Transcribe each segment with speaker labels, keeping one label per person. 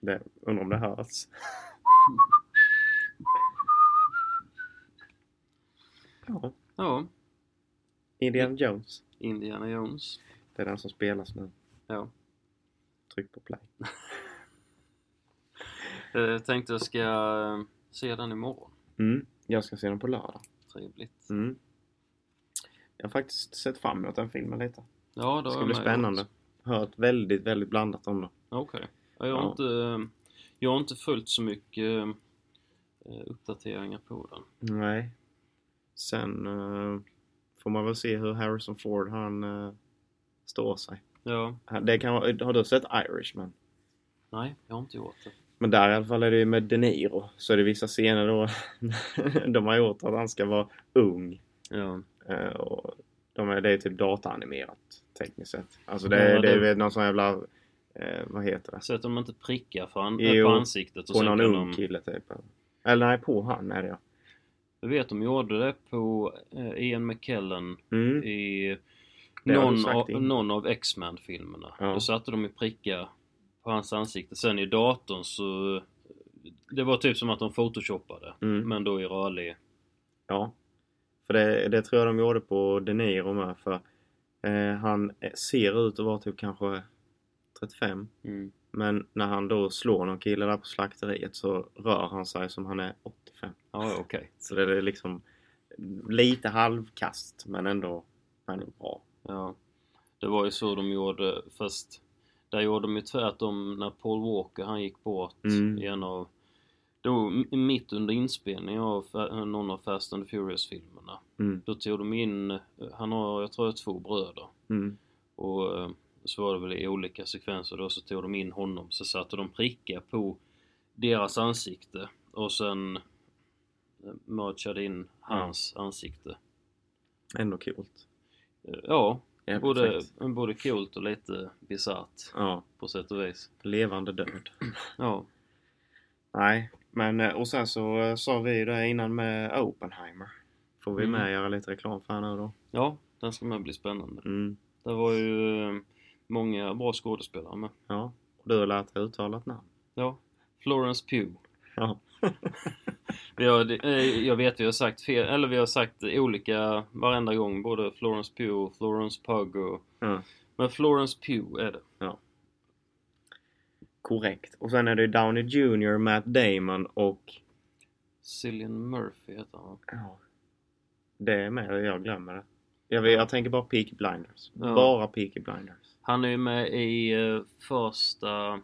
Speaker 1: Det, undrar om det hörs. ja,
Speaker 2: Ja,
Speaker 1: Indiana Jones.
Speaker 2: Indiana Jones.
Speaker 1: Det är den som spelas nu.
Speaker 2: Ja.
Speaker 1: Tryck på play.
Speaker 2: Eh, Jag tänkte jag ska eh, se den imorgon.
Speaker 1: Mm. Jag ska se den på lördag.
Speaker 2: Trevligt.
Speaker 1: Mm. Jag har faktiskt sett fram emot den filmen lite.
Speaker 2: Ja, då
Speaker 1: Det
Speaker 2: är
Speaker 1: ska
Speaker 2: jag
Speaker 1: bli
Speaker 2: med
Speaker 1: spännande.
Speaker 2: också.
Speaker 1: Hört väldigt, väldigt blandat om den.
Speaker 2: Okej. Ja, Jag, har
Speaker 1: Ja.
Speaker 2: inte, eh, jag har inte följt så mycket eh, eh, uppdateringar på den.
Speaker 1: Nej. Sen eh, får man väl se hur Harrison Ford han eh, står sig.
Speaker 2: Ja,
Speaker 1: Han- Det kan, vara- har du sett Irishman?
Speaker 2: nej, jag har inte gjort det.
Speaker 1: Men där i alla fall är det ju med De Niro. Så är det vissa scener då de har gjort att han ska vara ung.
Speaker 2: Ja,
Speaker 1: Eh, och de är, det är typ dataanimerat tekniskt sett. Alltså det,
Speaker 2: Ja,
Speaker 1: är det
Speaker 2: det-
Speaker 1: är väl någon sån jävla... Eh, vad heter det?
Speaker 2: så att de inte prickar för an-
Speaker 1: Jo,
Speaker 2: på ansiktet och
Speaker 1: På
Speaker 2: sen
Speaker 1: någon
Speaker 2: kan
Speaker 1: ung
Speaker 2: de...
Speaker 1: kille typ. Eller nej, på han är det ja.
Speaker 2: Jag vet de gjorde det på eh, Ian McKellen
Speaker 1: Mm.
Speaker 2: i
Speaker 1: Det har du
Speaker 2: någon
Speaker 1: sagt
Speaker 2: av,
Speaker 1: innan.
Speaker 2: någon av X-Men filmerna.
Speaker 1: Ja.
Speaker 2: Då satte de ju prickar på hans ansikte. Sen i datorn så... eh, Det var typ som att de photoshoppade.
Speaker 1: Mm.
Speaker 2: Men då i rörlig.
Speaker 1: Ja. För det, det tror jag de gjorde på De Niro med för eh, han ser ut att vara typ kanske 35.
Speaker 2: Mm.
Speaker 1: Men när han då slår någon kille där på slakteriet så rör han sig som han är 85.
Speaker 2: Ja, ja, okej.
Speaker 1: Så det är liksom lite halvkast men ändå, ändå bra.
Speaker 2: Ja. Det var ju så de gjorde, fast där gjorde de ju tvärtom när Paul Walker han gick bort
Speaker 1: Mm.
Speaker 2: i en av då, m- mitt under inspelningen av fa- någon av Fast and the Furious-filmerna.
Speaker 1: Mm.
Speaker 2: Då tog de in, han har, jag tror jag har två bröder.
Speaker 1: Mm.
Speaker 2: Och eh, så var det väl i olika sekvenser då så tog de in honom så satte de prickar på deras ansikte och sen eh, mergade in hans ansikte.
Speaker 1: Ändå coolt.
Speaker 2: Eh, Ja,
Speaker 1: Jävligt
Speaker 2: både,
Speaker 1: fräckt.
Speaker 2: både coolt och lite bisarrt
Speaker 1: Ja,
Speaker 2: på sätt och vis.
Speaker 1: levande död.
Speaker 2: Ja,
Speaker 1: Nej, men eh, och sen så eh, sa vi ju det innan med Oppenheimer. Får vi
Speaker 2: Mm.
Speaker 1: med göra lite reklam för här nu då?
Speaker 2: ja den ska med bli spännande.
Speaker 1: Mm.
Speaker 2: Det var ju eh, många bra skådespelare med.
Speaker 1: Ja, och du har lärt dig uttala ett namn.
Speaker 2: Ja, Florence Pugh.
Speaker 1: Ja.
Speaker 2: Vi har, eh, jag vet vi har sagt fel, eller vi har sagt olika varenda gång, både Florence Pugh och Florence Pugh och,
Speaker 1: Ja.
Speaker 2: Men Florence Pugh är det.
Speaker 1: Korrekt. Och sen är det Downey Jr, Matt Damon och...
Speaker 2: Cillian Murphy heter han va?
Speaker 1: Ja. Det är med, jag glömmer det. Jag, vet- jag tänker bara Peaky Blinders.
Speaker 2: Ja.
Speaker 1: Bara Peaky Blinders.
Speaker 2: Han är ju med i eh, första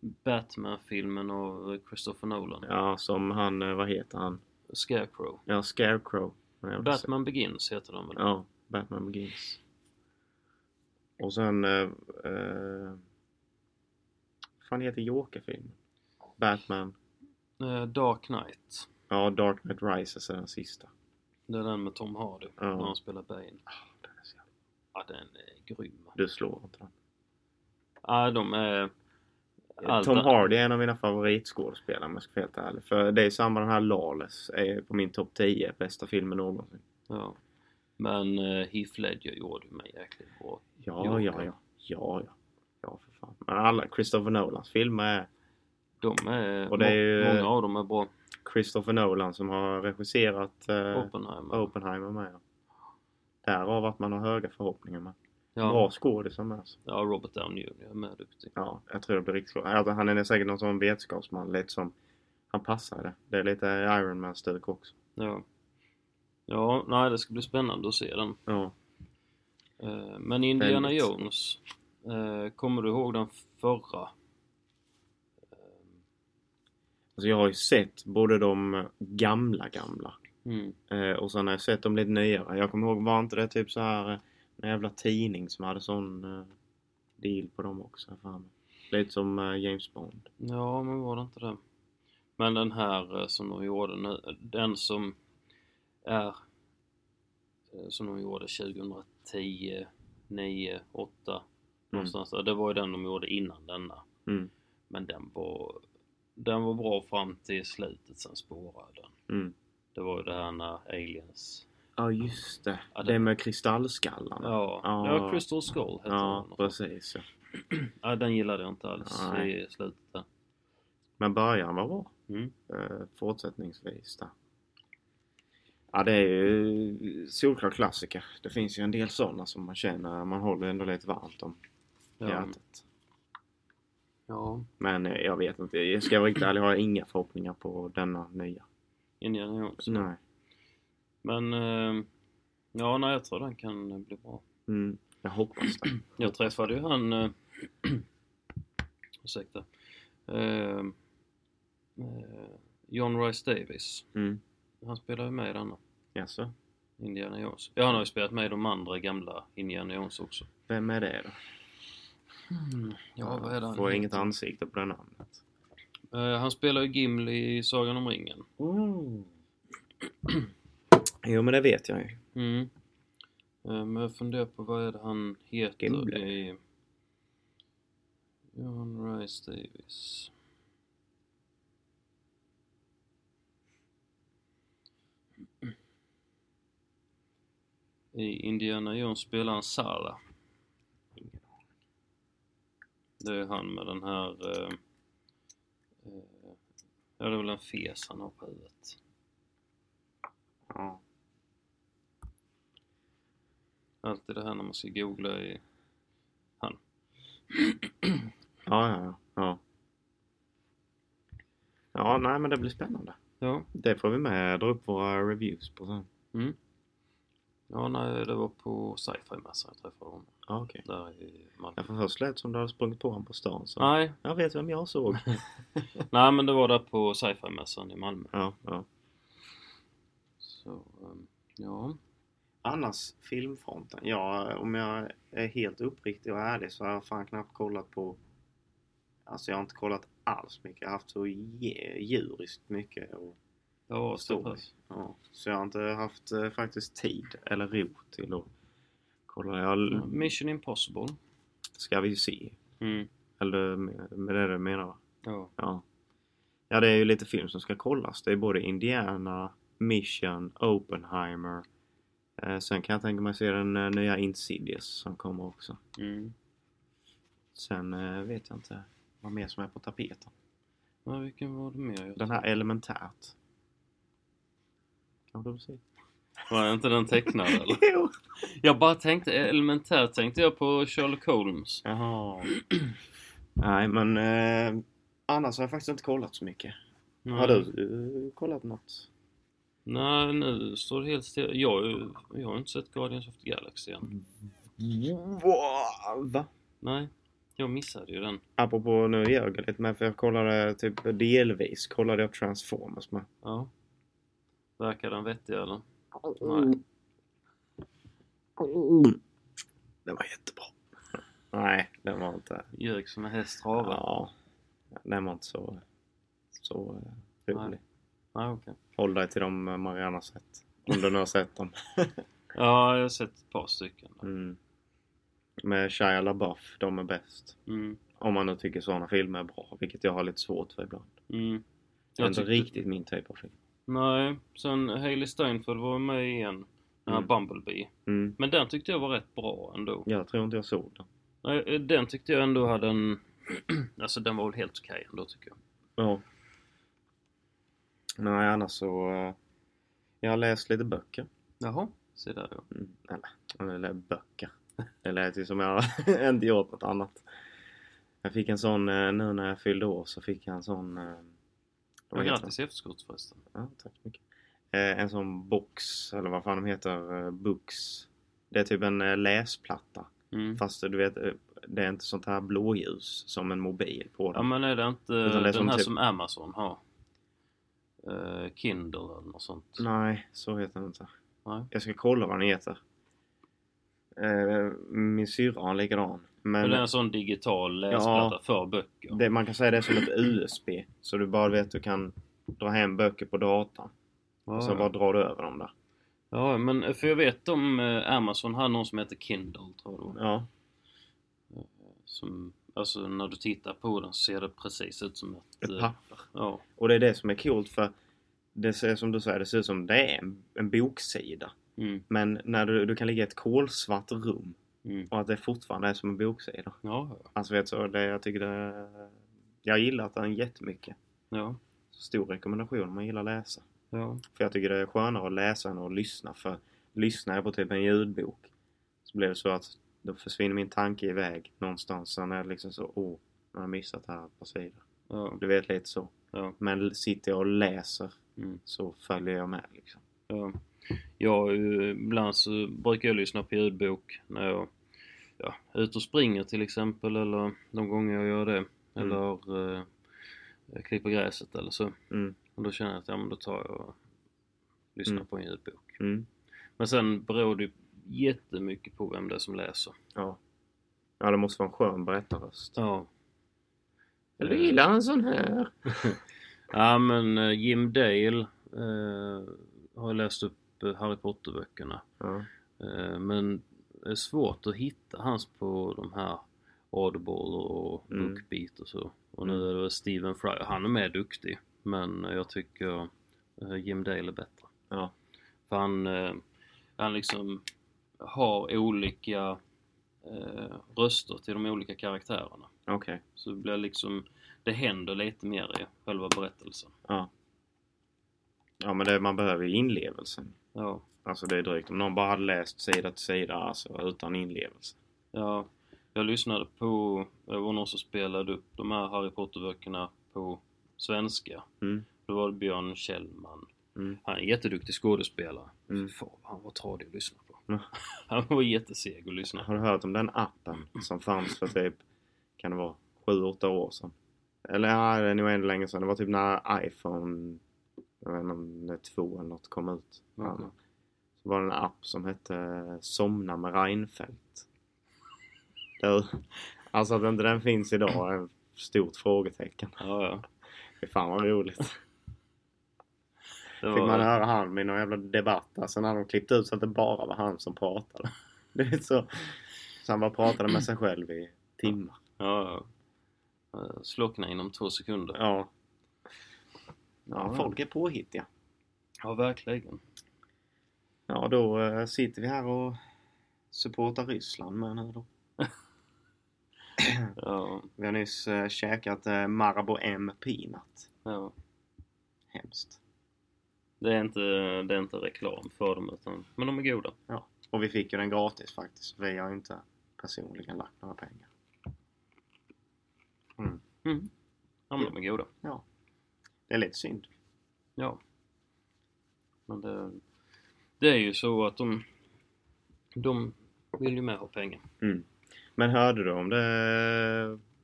Speaker 2: Batman-filmen av Christopher Nolan.
Speaker 1: Ja, som han, eh, vad heter han?
Speaker 2: Scarecrow.
Speaker 1: Ja, Scarecrow. Men jag vill se-
Speaker 2: Batman Begins heter den väl?
Speaker 1: Ja, Batman Begins. Och sen... Eh, eh, fan heter Joker-filmen? Batman.
Speaker 2: Eh, Dark Knight.
Speaker 1: Ja, Dark Knight Rises är den sista.
Speaker 2: Det är den med Tom Hardy,
Speaker 1: Ja.
Speaker 2: när han spelar Bane.
Speaker 1: Ah, den är så jävla-
Speaker 2: Ja, den är grym.
Speaker 1: Du slår inte den.
Speaker 2: Ja, de är... Allt-
Speaker 1: Tom Hardy är en av mina favoritskådespelare om jag ska vara helt ärlig. För det är samma den här Lawless är på min topp 10 bästa filmer någonsin.
Speaker 2: Ja. Men uh, Heath Ledger gjorde mig jäkligt bra.
Speaker 1: Ja,
Speaker 2: Joker.
Speaker 1: ja, ja. Ja, ja. Ja, för fan. Men alla Christopher Nolans filmer är
Speaker 2: De är...
Speaker 1: Och det är ju-
Speaker 2: må- Många av dem är bra.
Speaker 1: Christopher Nolan som har regisserat eh,
Speaker 2: Oppenheimer.
Speaker 1: Oppenheimer med. ja. Därav att man har höga förhoppningar med.
Speaker 2: ja.
Speaker 1: Bra skådisar med. Alltså.
Speaker 2: ja, Robert Downey Jr. är med duktig.
Speaker 1: Ja, jag tror det blir riktigt bra. Alltså, Han är säkert någon sån vetenskapsman lite som han passar i det. Det är lite Iron Man-stuk också.
Speaker 2: Ja. Ja, nej det ska bli spännande att se den.
Speaker 1: Ja.
Speaker 2: Eh, men Indiana
Speaker 1: Väldigt.
Speaker 2: Jones. eh, kommer du ihåg den förra?
Speaker 1: Alltså jag har ju sett både de gamla gamla
Speaker 2: Mm.
Speaker 1: eh, och sen har jag sett de lite nyare. Jag kommer ihåg, var inte det typ så här eh, en jävla tidning som hade sån eh, deal på dem också? jag har för mig. Lite som eh, James
Speaker 2: Mm.
Speaker 1: Bond.
Speaker 2: Ja, men var det inte det? Men den här eh, som de gjorde nu, den som är eh, som de gjorde 2010, 9, 8 någonstans där. Det var ju den de gjorde innan denna.
Speaker 1: Mm.
Speaker 2: Men den var, den var bra fram till slutet, sen spårade den.
Speaker 1: Mm.
Speaker 2: Det var ju det här när aliens
Speaker 1: Ja, just det.
Speaker 2: Ja,
Speaker 1: det
Speaker 2: den-
Speaker 1: med kristallskallarna.
Speaker 2: Ja,
Speaker 1: Ja.
Speaker 2: ja Crystal Skull heter
Speaker 1: Ja,
Speaker 2: den.
Speaker 1: precis. Ja.
Speaker 2: Ja, den gillade jag inte alls
Speaker 1: Nej.
Speaker 2: i slutet där.
Speaker 1: Men början var bra.
Speaker 2: Mm.
Speaker 1: Eh, fortsättningsvis där. Ja, det är ju solklar klassiker. Det finns ju en del sådana som man känner, man håller ändå lite varmt om
Speaker 2: Ja.
Speaker 1: hjärtat.
Speaker 2: ja.
Speaker 1: Men eh, jag vet inte, jag ska vara riktigt ärlig har jag inga förhoppningar på denna nya.
Speaker 2: Indiana Jones.
Speaker 1: Nej.
Speaker 2: Men eh, ja, nej, jag tror den kan bli bra.
Speaker 1: Mm, jag hoppas det.
Speaker 2: Jag träffade ju han... Eh, ursäkta. Eh, eh, John Rice Davis.
Speaker 1: Mm.
Speaker 2: Han spelar ju med i denna.
Speaker 1: Jaså?
Speaker 2: Indiana Jones. Ja, han har ju spelat med i de andra gamla Indiana Jones också.
Speaker 1: Vem är det då?
Speaker 2: Mm, Ja, vad är det han
Speaker 1: Får
Speaker 2: heter?
Speaker 1: inget ansikte på det namnet.
Speaker 2: Eh, han spelar ju Gimli i Sagan om ringen. Oh.
Speaker 1: Jo men det vet jag ju.
Speaker 2: Mm. Eh, men jag funderar på vad är det han heter
Speaker 1: Gimli.
Speaker 2: i... John Rice Davis. I Indiana Jones spelar han Sala. Det är han med den här... Eh, eh, ja, det är väl en fes han har på huvudet.
Speaker 1: Ja.
Speaker 2: Alltid det här när man ska googla i...
Speaker 1: Ja, ja, ja, ja. Ja, nej men det blir spännande.
Speaker 2: Ja.
Speaker 1: Det får vi med dra upp våra reviews på sen.
Speaker 2: Ja, nej, det var på sci-fi mässan jag träffade honom.
Speaker 1: Ja, okej.
Speaker 2: Där i Malmö.
Speaker 1: Ja, för först lät som du hade sprungit på honom på stan så.
Speaker 2: Nej,
Speaker 1: Jag vet vem jag såg.
Speaker 2: nej, men det var där på sci-fi mässan i Malmö.
Speaker 1: ja, ja.
Speaker 2: Så, ehm, ja.
Speaker 1: Annars filmfronten. Ja, om jag är helt uppriktig och ärlig så har jag fan knappt kollat på... Alltså jag har inte kollat alls mycket. Jag har haft så je- djuriskt mycket och
Speaker 2: Ja, så
Speaker 1: Story.
Speaker 2: pass.
Speaker 1: Ja, så jag har inte haft eh, faktiskt tid eller ro till att kolla.
Speaker 2: Ja,
Speaker 1: Jag,
Speaker 2: Mission Impossible.
Speaker 1: ska vi ju se.
Speaker 2: Mm.
Speaker 1: Eller med, med det du menar va?
Speaker 2: Ja.
Speaker 1: Ja. Ja, det är ju lite film som ska kollas. Det är både Indiana, Mission, Oppenheimer. Eh, sen kan jag tänka mig se den eh, nya Insidious som kommer också.
Speaker 2: Mm.
Speaker 1: Sen eh, vet jag inte vad mer som är på tapeten.
Speaker 2: Ja, vilken var det mer? Jag
Speaker 1: Den här Elementärt. Kan du se?
Speaker 2: Var inte den tecknad eller?
Speaker 1: Jo!
Speaker 2: Jag bara tänkte, elementärt tänkte jag på Sherlock Holmes.
Speaker 1: Jaha. Nej, men eh, annars har jag faktiskt inte kollat så mycket.
Speaker 2: Nej.
Speaker 1: Har du eh, kollat något?
Speaker 2: Nej, nu står det helt still. Jag, jag har inte sett Guardians of the Galaxy än.
Speaker 1: Va?
Speaker 2: Nej, jag missade ju den.
Speaker 1: Apropå nu ljög jag lite med för jag kollade typ delvis kollade jag Transformers med.
Speaker 2: Ja. Verkar den vettig eller?
Speaker 1: Nej. Mm. Den var jättebra. Nej, den var inte.
Speaker 2: Ljög som en häst travar.
Speaker 1: Ja. Den var inte så, så eh, rolig.
Speaker 2: Nej. Nej, okej.
Speaker 1: Håll dig till dem eh, Marianne har sett. Om du nu har sett dem.
Speaker 2: Ja, jag har sett ett par stycken. där.
Speaker 1: Mm. Med Shia LaBeouf, de är bäst.
Speaker 2: Mm.
Speaker 1: Om man nu tycker sådana filmer är bra, vilket jag har lite svårt för ibland.
Speaker 2: Mm.
Speaker 1: Det är inte
Speaker 2: tyckte-
Speaker 1: riktigt min typ av film.
Speaker 2: Nej, sen Hailey Steinfeld var med igen. Den här
Speaker 1: Mm.
Speaker 2: Bumblebee.
Speaker 1: Mm.
Speaker 2: Men den tyckte jag var rätt bra ändå.
Speaker 1: Jag tror inte jag såg den.
Speaker 2: Nej, Den tyckte jag ändå hade en... alltså den var väl helt okej ändå tycker jag.
Speaker 1: Ja. Nej, annars så... eh, Jag har läst lite böcker.
Speaker 2: Jaha, se där ja.
Speaker 1: Mm. Eller, eller böcker. Det lät ju som jag inte gjort något annat. Jag fick en sån, eh, nu när jag fyllde år så fick jag en sån... eh,
Speaker 2: ja
Speaker 1: Vad heter den?
Speaker 2: grattis i efterskott förresten.
Speaker 1: Ja, tack så mycket. Eh, en sån box, eller vad fan de heter, eh, books. Det är typ en eh, läsplatta.
Speaker 2: Mm.
Speaker 1: Fast du vet, eh, det är inte sånt här blåljus som en mobil på den.
Speaker 2: Ja men är det inte
Speaker 1: Utan det är
Speaker 2: den
Speaker 1: som
Speaker 2: här
Speaker 1: typ-
Speaker 2: som Amazon har? Eh, Kindle eller något sånt?
Speaker 1: Nej, så heter den inte.
Speaker 2: Nej.
Speaker 1: Jag ska kolla vad den heter. Eh, min syrra har en likadan.
Speaker 2: Men
Speaker 1: Men
Speaker 2: det är en sån digital läsplatta
Speaker 1: Ja.
Speaker 2: för böcker.
Speaker 1: det, man kan säga det är som ett USB. Så du bara vet, du kan dra hem böcker på datorn.
Speaker 2: ja,
Speaker 1: Och så bara drar du över dem där.
Speaker 2: ja, men för jag vet om eh, Amazon har någon som heter Kindle tror jag. det var.
Speaker 1: Ja,
Speaker 2: Som, alltså när du tittar på den så ser det precis ut som ett...
Speaker 1: ett
Speaker 2: eh,
Speaker 1: papper.
Speaker 2: ja.
Speaker 1: Och det är det som är coolt för det ser som du säger, det ser ut som det är en, en boksida.
Speaker 2: Mm.
Speaker 1: Men när du, du kan ligga i ett kolsvart rum
Speaker 2: Mm.
Speaker 1: och att det fortfarande är som en boksida.
Speaker 2: Ja, ja.
Speaker 1: Alltså vet så, det, jag tycker det... Jag gillar den jättemycket.
Speaker 2: ja.
Speaker 1: Stor rekommendation om man gillar läsa.
Speaker 2: ja.
Speaker 1: För jag tycker det är skönare att läsa än att lyssna. För lyssnar jag på typ en ljudbok så blir det så att då försvinner min tanke iväg någonstans. Sen är det liksom så, åh, jag har missat här ett par sidor.
Speaker 2: ja.
Speaker 1: Du vet lite så.
Speaker 2: ja.
Speaker 1: Men sitter jag och läser
Speaker 2: Mm.
Speaker 1: så följer jag med liksom.
Speaker 2: Ja. Jag, är ju- ibland så brukar jag lyssna på ljudbok när jag ja, är ute och springer till exempel eller de gånger jag gör
Speaker 1: Mm.
Speaker 2: det. Eller eh, jag klipper gräset eller så.
Speaker 1: Mm.
Speaker 2: Och då känner jag att ja, men då tar jag och lyssnar
Speaker 1: Mm.
Speaker 2: på en ljudbok.
Speaker 1: Mm.
Speaker 2: Men sen beror det ju jättemycket på vem det är som läser.
Speaker 1: Ja. Ja, det måste vara en skön berättarröst.
Speaker 2: Ja.
Speaker 1: Jag gillar en sån här.
Speaker 2: Ja men eh, Jim Dale eh, har läst upp eh, Harry Potter-böckerna.
Speaker 1: Ja.
Speaker 2: Eh, Men det är svårt att hitta hans på de här Audible och
Speaker 1: Mm.
Speaker 2: Bookbeat och så. Och nu är det väl Stephen Fry. Han är mer duktig. Men jag tycker eh, Jim Dale är bättre.
Speaker 1: Ja.
Speaker 2: För han, eh, han liksom har olika eh, röster till de olika karaktärerna.
Speaker 1: Okej.
Speaker 2: Så det blir liksom, det händer lite mer i själva berättelsen.
Speaker 1: Ja. Ja, men det, man behöver ju inlevelsen.
Speaker 2: Ja,
Speaker 1: Alltså det är drygt om någon bara hade läst sida till sida alltså utan inlevelse.
Speaker 2: ja. Jag lyssnade på, det var någon som spelade upp de här Harry Potter-böckerna på svenska.
Speaker 1: Mm.
Speaker 2: Då var det Björn Kjellman.
Speaker 1: Mm.
Speaker 2: Han är en jätteduktig skådespelare.
Speaker 1: Mm.
Speaker 2: Fy Fan, han var tradig att lyssna på.
Speaker 1: Mm.
Speaker 2: Han var jätteseg att lyssna på.
Speaker 1: Har du hört om den appen som fanns för typ, kan det vara, 7-8 år sedan? Eller ja, det är nog ännu länge sedan. Det var typ när iPhone, jag vet inte om det är 2 eller något, kom ut.
Speaker 2: Okej.
Speaker 1: Så var det en app som hette Somna med Reinfeldt. Där, alltså att inte den finns idag är ett stort frågetecken.
Speaker 2: Ja, ja.
Speaker 1: Fy fan vad roligt.
Speaker 2: Det
Speaker 1: Fick man
Speaker 2: var,
Speaker 1: höra han med någon jävla debatt. Alltså när de klippte ut så att det bara var han som pratade. Det är så. Så han bara pratade med sig själv i timmar.
Speaker 2: ja, ja. Eh, Slockna inom två sekunder.
Speaker 1: Ja. Ja, folk är påhittiga.
Speaker 2: Ja, verkligen.
Speaker 1: Ja, då eh, sitter vi här och supportar Ryssland med nu då.
Speaker 2: Ja,
Speaker 1: Vi har nyss eh, käkat eh, Marabou M Peanut.
Speaker 2: ja.
Speaker 1: Hemskt.
Speaker 2: Det är, inte, det är inte reklam för dem, utan, men de är goda.
Speaker 1: Ja. Och vi fick ju den gratis faktiskt. Vi har ju inte personligen lagt några pengar. Mm.
Speaker 2: Mm. Ja, men de är goda.
Speaker 1: Ja. Det är lite synd.
Speaker 2: Ja. Men det, det är ju så att de, de vill ju med ha pengar.
Speaker 1: Mm. Men hörde du om det,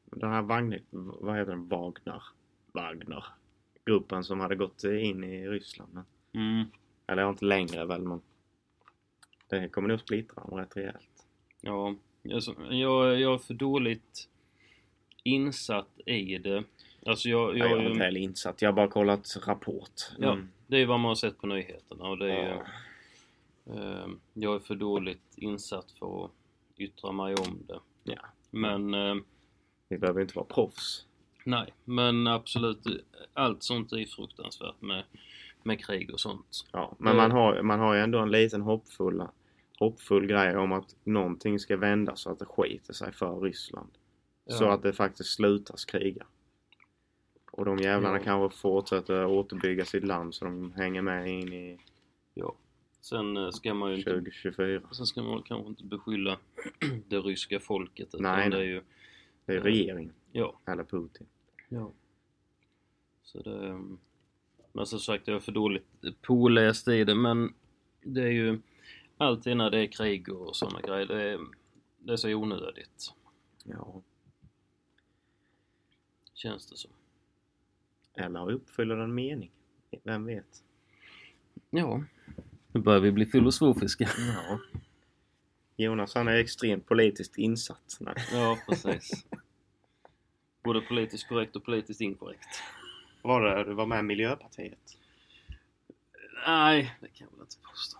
Speaker 1: den här Wagner, vad heter den, Wagner? Wagner. Gruppen som hade gått in i Ryssland. men- Eller inte längre väl, men det kommer nog splittra dem rätt rejält.
Speaker 2: Ja, alltså, jag, jag är för dåligt insatt i det. Alltså jag,
Speaker 1: Jag,
Speaker 2: jag,
Speaker 1: är inte
Speaker 2: det.
Speaker 1: heller insatt, jag har bara kollat Rapport.
Speaker 2: Ja,
Speaker 1: Mm.
Speaker 2: det är vad man har sett på nyheterna och det är
Speaker 1: Ja.
Speaker 2: eh, Jag är för dåligt insatt för att yttra mig om det.
Speaker 1: Ja.
Speaker 2: Men, eh,
Speaker 1: Vi behöver inte vara proffs.
Speaker 2: nej, men absolut, allt sånt är fruktansvärt med, med krig och sånt.
Speaker 1: Ja, men
Speaker 2: Mm.
Speaker 1: man, har, man har ju ändå en liten hoppfull, hoppfull grej om att någonting ska vända så att det skiter sig för Ryssland. Så
Speaker 2: Ja.
Speaker 1: att det faktiskt slutas kriga. Och de jävlarna
Speaker 2: Ja.
Speaker 1: kanske fortsätter återbygga sitt land så de hänger med in i
Speaker 2: Ja. Sen eh, ska man ju inte
Speaker 1: 2024.
Speaker 2: Sen ska man kanske inte beskylla det ryska folket utan
Speaker 1: Nej,
Speaker 2: det är
Speaker 1: nej.
Speaker 2: ju...
Speaker 1: Det är
Speaker 2: Ja.
Speaker 1: regeringen,
Speaker 2: Ja.
Speaker 1: eller Putin.
Speaker 2: Ja. Så det... ehm, Men som sagt, jag är för dåligt påläst i det, men det är ju alltid när det är krig och sådana grejer, det är, det är så onödigt,
Speaker 1: Ja.
Speaker 2: känns det som.
Speaker 1: Eller uppfyller den mening. Vem vet?
Speaker 2: Ja. Nu börjar vi bli filosofiska.
Speaker 1: Ja. Jonas han är extremt politiskt insatt. Nej.
Speaker 2: Ja, precis. Både politiskt korrekt och politiskt inkorrekt.
Speaker 1: Var det, du var med i Miljöpartiet?
Speaker 2: Nej, det kan jag väl inte påstå.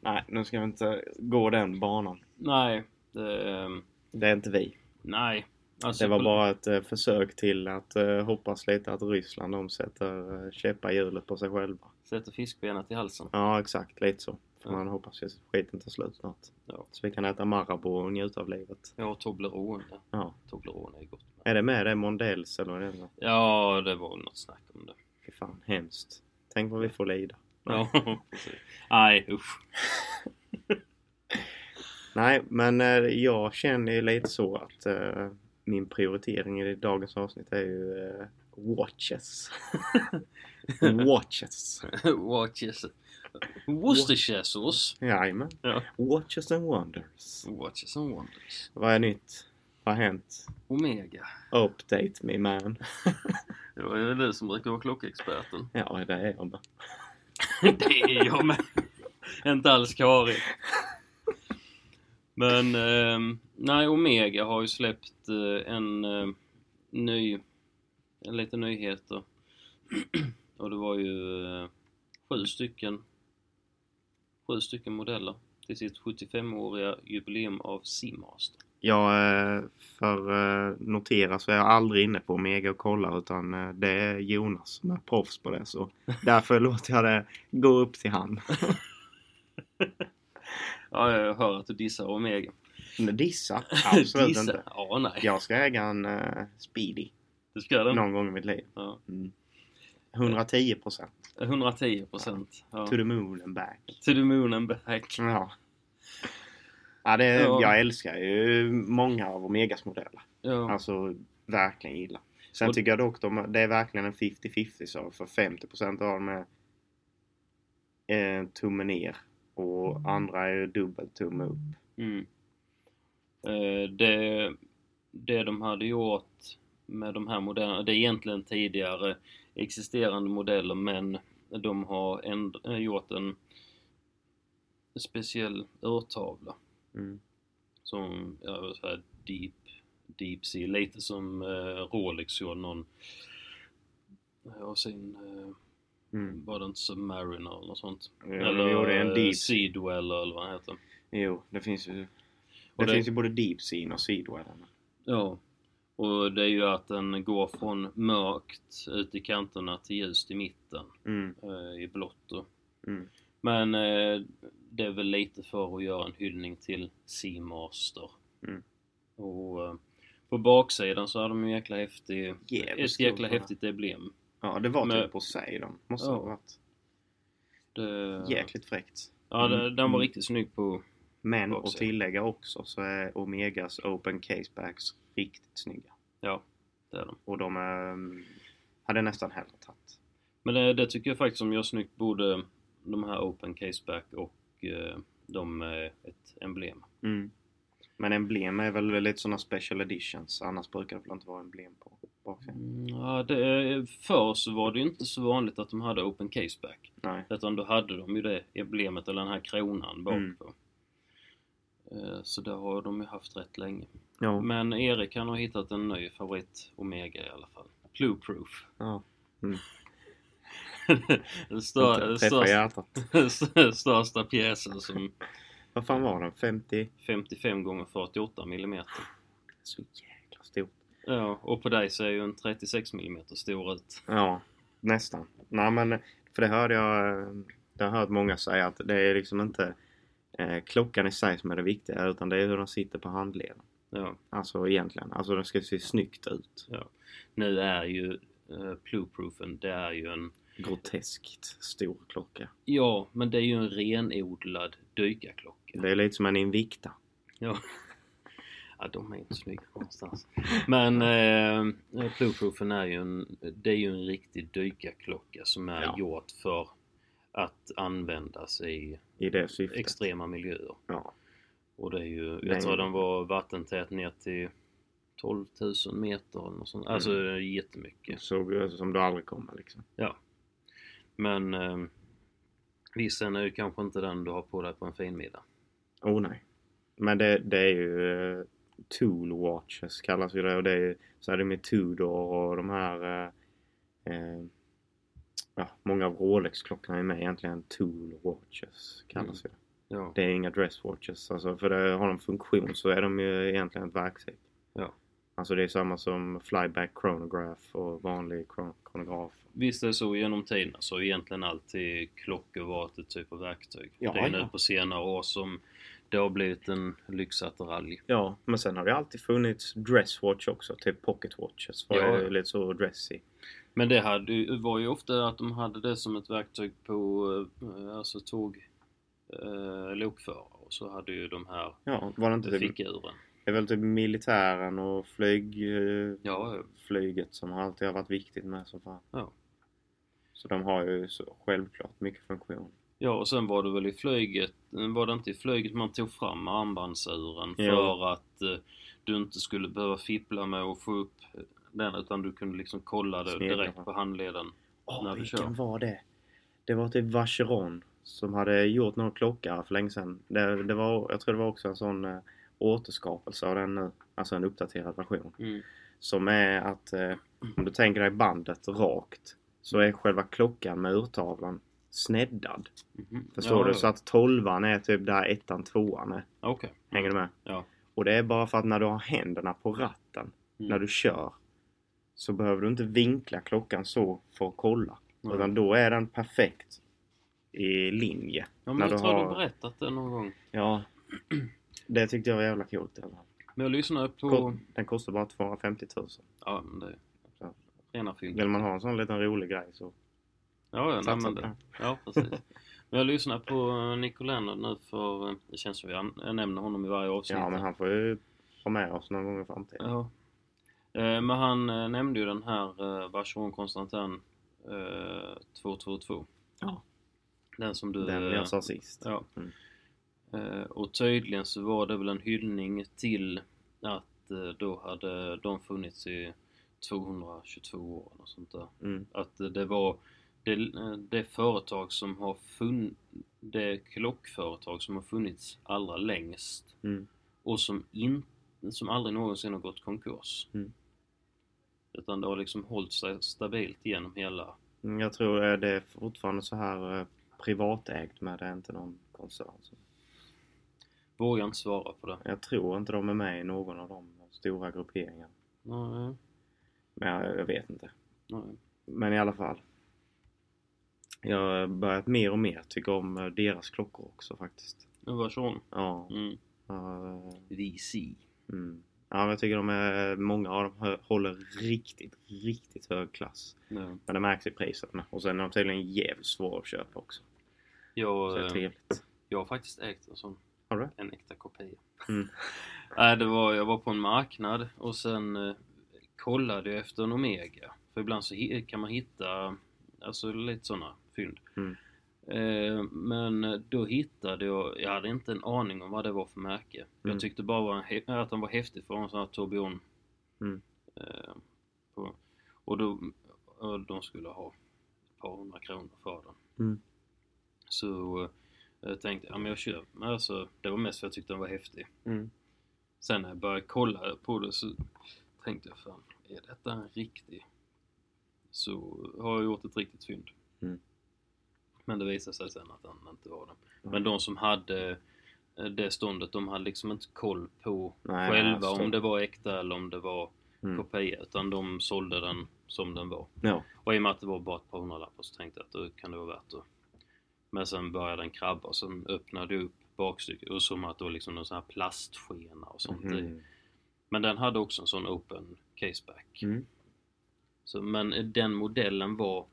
Speaker 1: Nej, nu ska vi inte gå den banan.
Speaker 2: Nej, det... ehm,
Speaker 1: Det är inte vi.
Speaker 2: Nej. Alltså,
Speaker 1: Det var
Speaker 2: pol-
Speaker 1: bara ett eh, försök till att eh, hoppas lite att Ryssland de sätter eh, käppar i hjulet på sig själva.
Speaker 2: Sätter fiskbenet i halsen.
Speaker 1: Ja, exakt. Lite så. För
Speaker 2: Ja.
Speaker 1: man hoppas ju att skiten tar slut snart.
Speaker 2: Ja.
Speaker 1: Så vi kan äta Marabou och njuta av livet.
Speaker 2: Ja, Toblerone. Ja,
Speaker 1: Ja.
Speaker 2: Toblerone är gott.
Speaker 1: Är det med det Mondells eller vad det är?
Speaker 2: Ja, det var väl något snack om det.
Speaker 1: Fy fan, hemskt. Tänk vad vi får lida.
Speaker 2: Ja, precis. Nej, usch.
Speaker 1: Nej, men eh, jag känner ju lite så att eh, min prioritering i dagens avsnitt är ju eh, watches. watches.
Speaker 2: Watches. Worcestershiresås.
Speaker 1: Jajamän.
Speaker 2: Ja.
Speaker 1: Watches and wonders.
Speaker 2: Watches and Wonders.
Speaker 1: Vad är nytt? Vad har hänt?
Speaker 2: Omega.
Speaker 1: Update me man.
Speaker 2: Det var ju du som brukar vara klockexperten.
Speaker 1: Ja, det är jag med.
Speaker 2: Det är jag med. Inte alls Karin. Men ehm, nej, Omega har ju släppt eh, en eh, ny, en lite nyheter. Och det var ju eh, sju stycken, sju stycken modeller till sitt 75-åriga jubileum av Seamaster.
Speaker 1: Jag, eh, för eh, notera så är jag aldrig inne på Omega och kollar utan eh, det är Jonas som är proffs på det så därför låter jag det gå upp till han.
Speaker 2: Ja, jag hör att du dissar Omega.
Speaker 1: Men Dissa? Absolut
Speaker 2: Dissar?
Speaker 1: inte.
Speaker 2: Ja, nej.
Speaker 1: Jag ska äga en eh, Speedy
Speaker 2: Du ska den?
Speaker 1: någon gång i mitt liv.
Speaker 2: Ja.
Speaker 1: Mm. 110 procent.
Speaker 2: 110 procent. Ja.
Speaker 1: To the moon and back.
Speaker 2: To the moon and back.
Speaker 1: Ja. Ja, det,
Speaker 2: Ja.
Speaker 1: Jag älskar ju många av Omegas modeller.
Speaker 2: Ja.
Speaker 1: Alltså verkligen gilla. Sen
Speaker 2: Och-
Speaker 1: tycker jag dock de, det är verkligen en 50-50 så för 50% av dem är eh, tummen ner och andra är dubbel tumme upp.
Speaker 2: Mm. Eh, Det, det de hade gjort med de här modellerna, det är egentligen tidigare existerande modeller men de har änd- eh, gjort en speciell urtavla
Speaker 1: Mm.
Speaker 2: som, jag vill säga, deep, deep sea, lite som eh, Rolex gjorde någon och sin, eh,
Speaker 1: Mm.
Speaker 2: var det inte Submariner eller något sånt?
Speaker 1: Ja, de gjorde en
Speaker 2: eh,
Speaker 1: deep-
Speaker 2: Sea Dweller eller vad han heter.
Speaker 1: Jo, det finns ju, det
Speaker 2: Och det-
Speaker 1: finns ju både deep scene och sidwell.
Speaker 2: Ja. Och det är ju att den går från mörkt ut i kanterna till ljust i mitten
Speaker 1: Mm,
Speaker 2: eh, i blått. då.
Speaker 1: mm.
Speaker 2: Men eh, det är väl lite för att göra en hyllning till Seamaster.
Speaker 1: Mm.
Speaker 2: Och eh, på baksidan så har de en jäkla häftig,
Speaker 1: Jävligt
Speaker 2: ett jäkla
Speaker 1: stor,
Speaker 2: häftigt emblem.
Speaker 1: Ja, det var
Speaker 2: Men-
Speaker 1: typ Poseidon. Måste
Speaker 2: Ja.
Speaker 1: ha varit.
Speaker 2: Det,
Speaker 1: Jäkligt fräckt.
Speaker 2: Ja, det, den var
Speaker 1: Mm.
Speaker 2: riktigt snygg på...
Speaker 1: Men att
Speaker 2: Också.
Speaker 1: tillägga också så är Omegas Open Casebacks riktigt snygga.
Speaker 2: Ja, det är den.
Speaker 1: Och de eh, hade nästan hellre tagit.
Speaker 2: Men det, det tycker jag faktiskt som gör snyggt både de här Open Caseback och eh, de med ett emblem.
Speaker 1: Mm. Men emblem är väl lite sådana special editions. Annars brukar det väl inte vara emblem på baksidan.
Speaker 2: Mm, Ja, det, förr så var det ju inte så vanligt att de hade open caseback.
Speaker 1: Nej.
Speaker 2: Utan då hade de ju det emblemet eller den här kronan
Speaker 1: Mm.
Speaker 2: bakpå. Eh, Så det har de ju haft rätt länge.
Speaker 1: Ja.
Speaker 2: Men Erik han har hittat en ny favorit Omega i alla fall. Blueproof.
Speaker 1: ja.
Speaker 2: den
Speaker 1: Inte
Speaker 2: stör, den
Speaker 1: Träffa
Speaker 2: största,
Speaker 1: hjärtat.
Speaker 2: den största pjäsen som
Speaker 1: Vad fan var den? 50?
Speaker 2: 55 gånger 48 mm.
Speaker 1: Så jäkla stort.
Speaker 2: Ja, och på dig ser ju en 36 mm stor ut.
Speaker 1: Ja, nästan. Nej men, för det hörde jag, eh, det har jag hört många säga att det är liksom inte eh, klockan i sig som är det viktiga utan det är hur den sitter på handleden.
Speaker 2: Ja.
Speaker 1: Alltså egentligen, alltså den ska se snyggt ut.
Speaker 2: Nu är ju eh, Blueproofen, det är ju en
Speaker 1: Groteskt stor klocka.
Speaker 2: Ja, men det är ju en renodlad dykarklocka.
Speaker 1: Det är lite som en Invicta.
Speaker 2: Ja. ja, de är inte snygga någonstans. Men eh, Blueproofen är ju en, det är ju en riktig dykarklocka som är
Speaker 1: Ja.
Speaker 2: gjord för att användas i
Speaker 1: I det syftet.
Speaker 2: extrema miljöer.
Speaker 1: Ja.
Speaker 2: Och det är ju,
Speaker 1: Nej.
Speaker 2: jag tror den var vattentät ner till 12 000 meter eller något sånt. Alltså
Speaker 1: Mm.
Speaker 2: jättemycket.
Speaker 1: Såg ju ut alltså, som du aldrig kommer liksom.
Speaker 2: Men eh, visst, sen är ju kanske inte den du har på dig på en fin middag.
Speaker 1: Oh nej. Men det, det är ju eh, Tool Watches kallas ju det och det är ju så är det med Tudor och de här eh, eh, ja, många av Rolex-klockorna är med egentligen Tool Watches kallas ju det.
Speaker 2: Ja.
Speaker 1: Det är inga dress watches alltså för det, har de funktion så är de ju egentligen ett verktyg.
Speaker 2: Ja.
Speaker 1: Alltså det är samma som flyback chronograph och vanlig chron- kronograf.
Speaker 2: Visst är det så genom tiden, så egentligen alltid klockor varit ett typ av verktyg.
Speaker 1: Ja,
Speaker 2: det är
Speaker 1: ja.
Speaker 2: nu på senare år som det har blivit en lyxattiralj.
Speaker 1: Ja, men sen har det alltid funnits dresswatch också, typ pocketwatches. Var
Speaker 2: Ja,
Speaker 1: ja.
Speaker 2: ja.
Speaker 1: lite så dressy.
Speaker 2: Men det hade, ju- var ju ofta att de hade det som ett verktyg på eh, alltså tåg, eh, lokförare och så hade ju de här
Speaker 1: Ja, var det inte typ,
Speaker 2: figuren.
Speaker 1: det är väl typ militären och flyg, eh,
Speaker 2: Ja, ja.
Speaker 1: flyget som alltid har varit viktigt med så fan.
Speaker 2: Ja.
Speaker 1: Så de har ju så, självklart mycket funktion.
Speaker 2: ja, och sen var det väl i flyget, eh, var det inte i flyget man tog fram armbandsuren
Speaker 1: Jo.
Speaker 2: för att eh, du inte skulle behöva fippla med att få upp den utan du kunde liksom kolla det
Speaker 1: Snegla
Speaker 2: direkt
Speaker 1: på.
Speaker 2: på handleden.
Speaker 1: Åh,
Speaker 2: När vi
Speaker 1: vilken
Speaker 2: kör.
Speaker 1: var det? Det var typ Vacheron som hade gjort någon klocka för länge sedan. Det, det var, jag tror det var också en sån eh, återskapelse av den nu. Alltså en uppdaterad version.
Speaker 2: Mm.
Speaker 1: Som är att eh, om du tänker dig bandet rakt så är själva klockan med urtavlan sneddad.
Speaker 2: Mhm.
Speaker 1: Förstår
Speaker 2: ja,
Speaker 1: du?
Speaker 2: ja.
Speaker 1: Så att tolvan är typ där ettan, tvåan är.
Speaker 2: Okej.
Speaker 1: Hänger du med?
Speaker 2: Ja.
Speaker 1: Och det är bara för att när du har händerna på ratten
Speaker 2: Mm.
Speaker 1: när du kör så behöver du inte vinkla klockan så för att kolla.
Speaker 2: Nej.
Speaker 1: Utan då är den perfekt i linje.
Speaker 2: ja, men
Speaker 1: när
Speaker 2: jag
Speaker 1: du
Speaker 2: tror
Speaker 1: har-
Speaker 2: du berättat det någon gång.
Speaker 1: Ja. Det tyckte jag var jävla coolt. i alla fall.
Speaker 2: Men jag lyssnade på...
Speaker 1: Ko- Den kostar bara 250 000.
Speaker 2: Ja, men det
Speaker 1: Ja.
Speaker 2: är rena fynd.
Speaker 1: Vill man ha en sån liten rolig grej så
Speaker 2: Ja, ja, nej,
Speaker 1: satsa
Speaker 2: men
Speaker 1: på
Speaker 2: det.
Speaker 1: den.
Speaker 2: Ja, precis. Men jag lyssnar på eh, Nico Leonard nu för eh, det känns som jag, jag nämner honom i varje avsnitt.
Speaker 1: Ja, men han får ju ha med oss någon gång i framtiden.
Speaker 2: Ja. Eh, Men han eh, nämnde ju den här eh, Vacheron Constantin eh, 222.
Speaker 1: Ja.
Speaker 2: Den som du...
Speaker 1: Den
Speaker 2: eh,
Speaker 1: jag sa sist.
Speaker 2: Ja.
Speaker 1: Mm.
Speaker 2: Eh, Och tydligen så var det väl en hyllning till att eh, då hade de funnits i 222 år och sånt där.
Speaker 1: Mm.
Speaker 2: Att eh, det var det, eh, det företag som har funnits, det klockföretag som har funnits allra längst
Speaker 1: Mm.
Speaker 2: och som, in, som aldrig någonsin har gått konkurs.
Speaker 1: Mm.
Speaker 2: Utan det har liksom hållit sig stabilt genom hela...
Speaker 1: Mm, Jag tror eh, det är fortfarande så här eh, privatägt med det är inte någon koncern. Så
Speaker 2: Vågar inte svara på det.
Speaker 1: Jag tror inte de är med i någon av de stora grupperingarna.
Speaker 2: Nej,
Speaker 1: Men jag, jag vet inte.
Speaker 2: nej.
Speaker 1: Men i alla fall. Jag har börjat mer och mer tycka om eh, deras klockor också faktiskt.
Speaker 2: Det var så.
Speaker 1: Ja.
Speaker 2: Mm.
Speaker 1: eh,
Speaker 2: VC.
Speaker 1: Mm. Ja, men jag tycker de är, många av dem hö- håller riktigt, riktigt hög klass.
Speaker 2: Ja.
Speaker 1: Men det märks i priset med. Och sen är de tydligen jävligt svåra att köpa också. Så det är
Speaker 2: Jag, eh,
Speaker 1: trevligt.
Speaker 2: jag har faktiskt ägt en sån.
Speaker 1: Har du det?
Speaker 2: En äkta kopia.
Speaker 1: Mm.
Speaker 2: Nej, det var, jag var på en marknad och sen eh, kollade jag efter en Omega. För ibland så hi- kan man hitta alltså, lite sådana fynd.
Speaker 1: Mm.
Speaker 2: Eh, men då hittade jag, jag hade inte en aning om vad det var för märke.
Speaker 1: Mm.
Speaker 2: Jag tyckte bara var en hä- att den var häftig för en sån här Torbjörn.
Speaker 1: Mm.
Speaker 2: Eh, på, och då, och de skulle ha ett par hundra kronor för den.
Speaker 1: Mm.
Speaker 2: Så eh, jag tänkte, ja men jag köper men alltså, Det var mest för att jag tyckte den var häftig.
Speaker 1: Mm.
Speaker 2: Sen när jag började kolla på det så tänkte jag, fan, är detta en riktig? Så har jag gjort ett riktigt fynd.
Speaker 1: Mm.
Speaker 2: Men det visade sig sen att den inte var det.
Speaker 1: Mm.
Speaker 2: Men de som hade eh, det ståndet, de hade liksom inte koll på
Speaker 1: Nej, nej, jag
Speaker 2: själva
Speaker 1: förstår.
Speaker 2: om det var äkta eller om det var
Speaker 1: Mm.
Speaker 2: kopia. Utan de sålde den som den var.
Speaker 1: Ja.
Speaker 2: Och i och med att det var bara ett par hundralappar så tänkte jag att då kan det vara värt det. Men sen började den krabba och sen öppnade jag upp bakstycket och såg man att det var liksom någon sån här plastskena och sånt i.
Speaker 1: Mm.
Speaker 2: Men den hade också en sån open caseback.
Speaker 1: Mm.
Speaker 2: Så, men den modellen var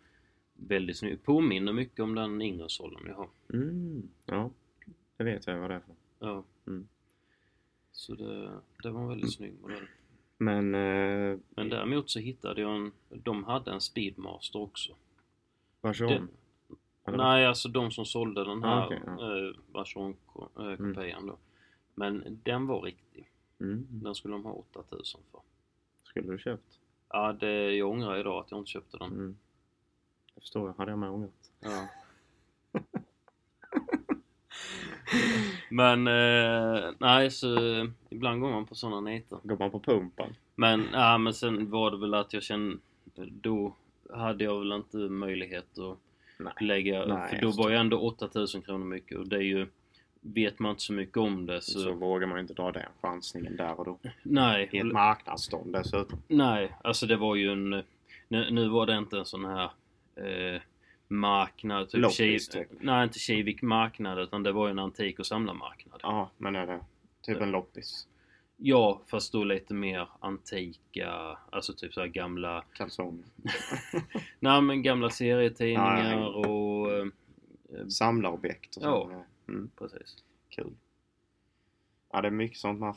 Speaker 2: väldigt snygg. Påminner mycket om den Ingersollen jag har.
Speaker 1: Mm. Ja. Det vet jag vad det är för något.
Speaker 2: Ja.
Speaker 1: Mm.
Speaker 2: Så det, det var en väldigt snygg modell.
Speaker 1: Men... Eh,
Speaker 2: Men däremot så hittade jag en... De hade en Speedmaster också.
Speaker 1: Varsågod.
Speaker 2: Den,
Speaker 1: Eller?
Speaker 2: Nej, alltså de som sålde den
Speaker 1: Ah,
Speaker 2: här
Speaker 1: okej,
Speaker 2: eh, Vacheron-kopian då. Men den var riktig.
Speaker 1: Mm.
Speaker 2: Den skulle de ha 8000 för.
Speaker 1: Skulle du köpt?
Speaker 2: Ja, det, jag ångrar idag att jag inte köpte den.
Speaker 1: Mm. Jag förstår, jag hade jag med ångrat.
Speaker 2: Ja. Men eh, nej, så eh, ibland går man på sådana nitar.
Speaker 1: Går man på pumpen?
Speaker 2: Men, ja, men sen var det väl att jag kände, då hade jag väl inte möjlighet att
Speaker 1: Nej.
Speaker 2: lägga,
Speaker 1: Nej,
Speaker 2: för då
Speaker 1: just det.
Speaker 2: var jag ändå 8000 kronor mycket och det är ju vet man inte så mycket om det så...
Speaker 1: Så, vågar man ju inte dra den chansningen där och då.
Speaker 2: nej.
Speaker 1: I ett marknadsstånd dessutom.
Speaker 2: Nej, alltså det var ju en... Nu, nu var det inte en sån här eh, marknad. Typ
Speaker 1: Loppis,
Speaker 2: Ki-
Speaker 1: typ.
Speaker 2: Nej, inte Kivik marknad utan det var ju en antik och samlarmarknad. Ja.
Speaker 1: Ja, men är det typ en loppis?
Speaker 2: fast då lite mer antika, alltså typ så här gamla...
Speaker 1: Kalsonger?
Speaker 2: Nej men gamla serietidningar
Speaker 1: Nej.
Speaker 2: och... Eh,
Speaker 1: Samlarobjekt och
Speaker 2: Ja.
Speaker 1: sånt. Mm,
Speaker 2: precis.
Speaker 1: kul. Ja, det är mycket sånt man...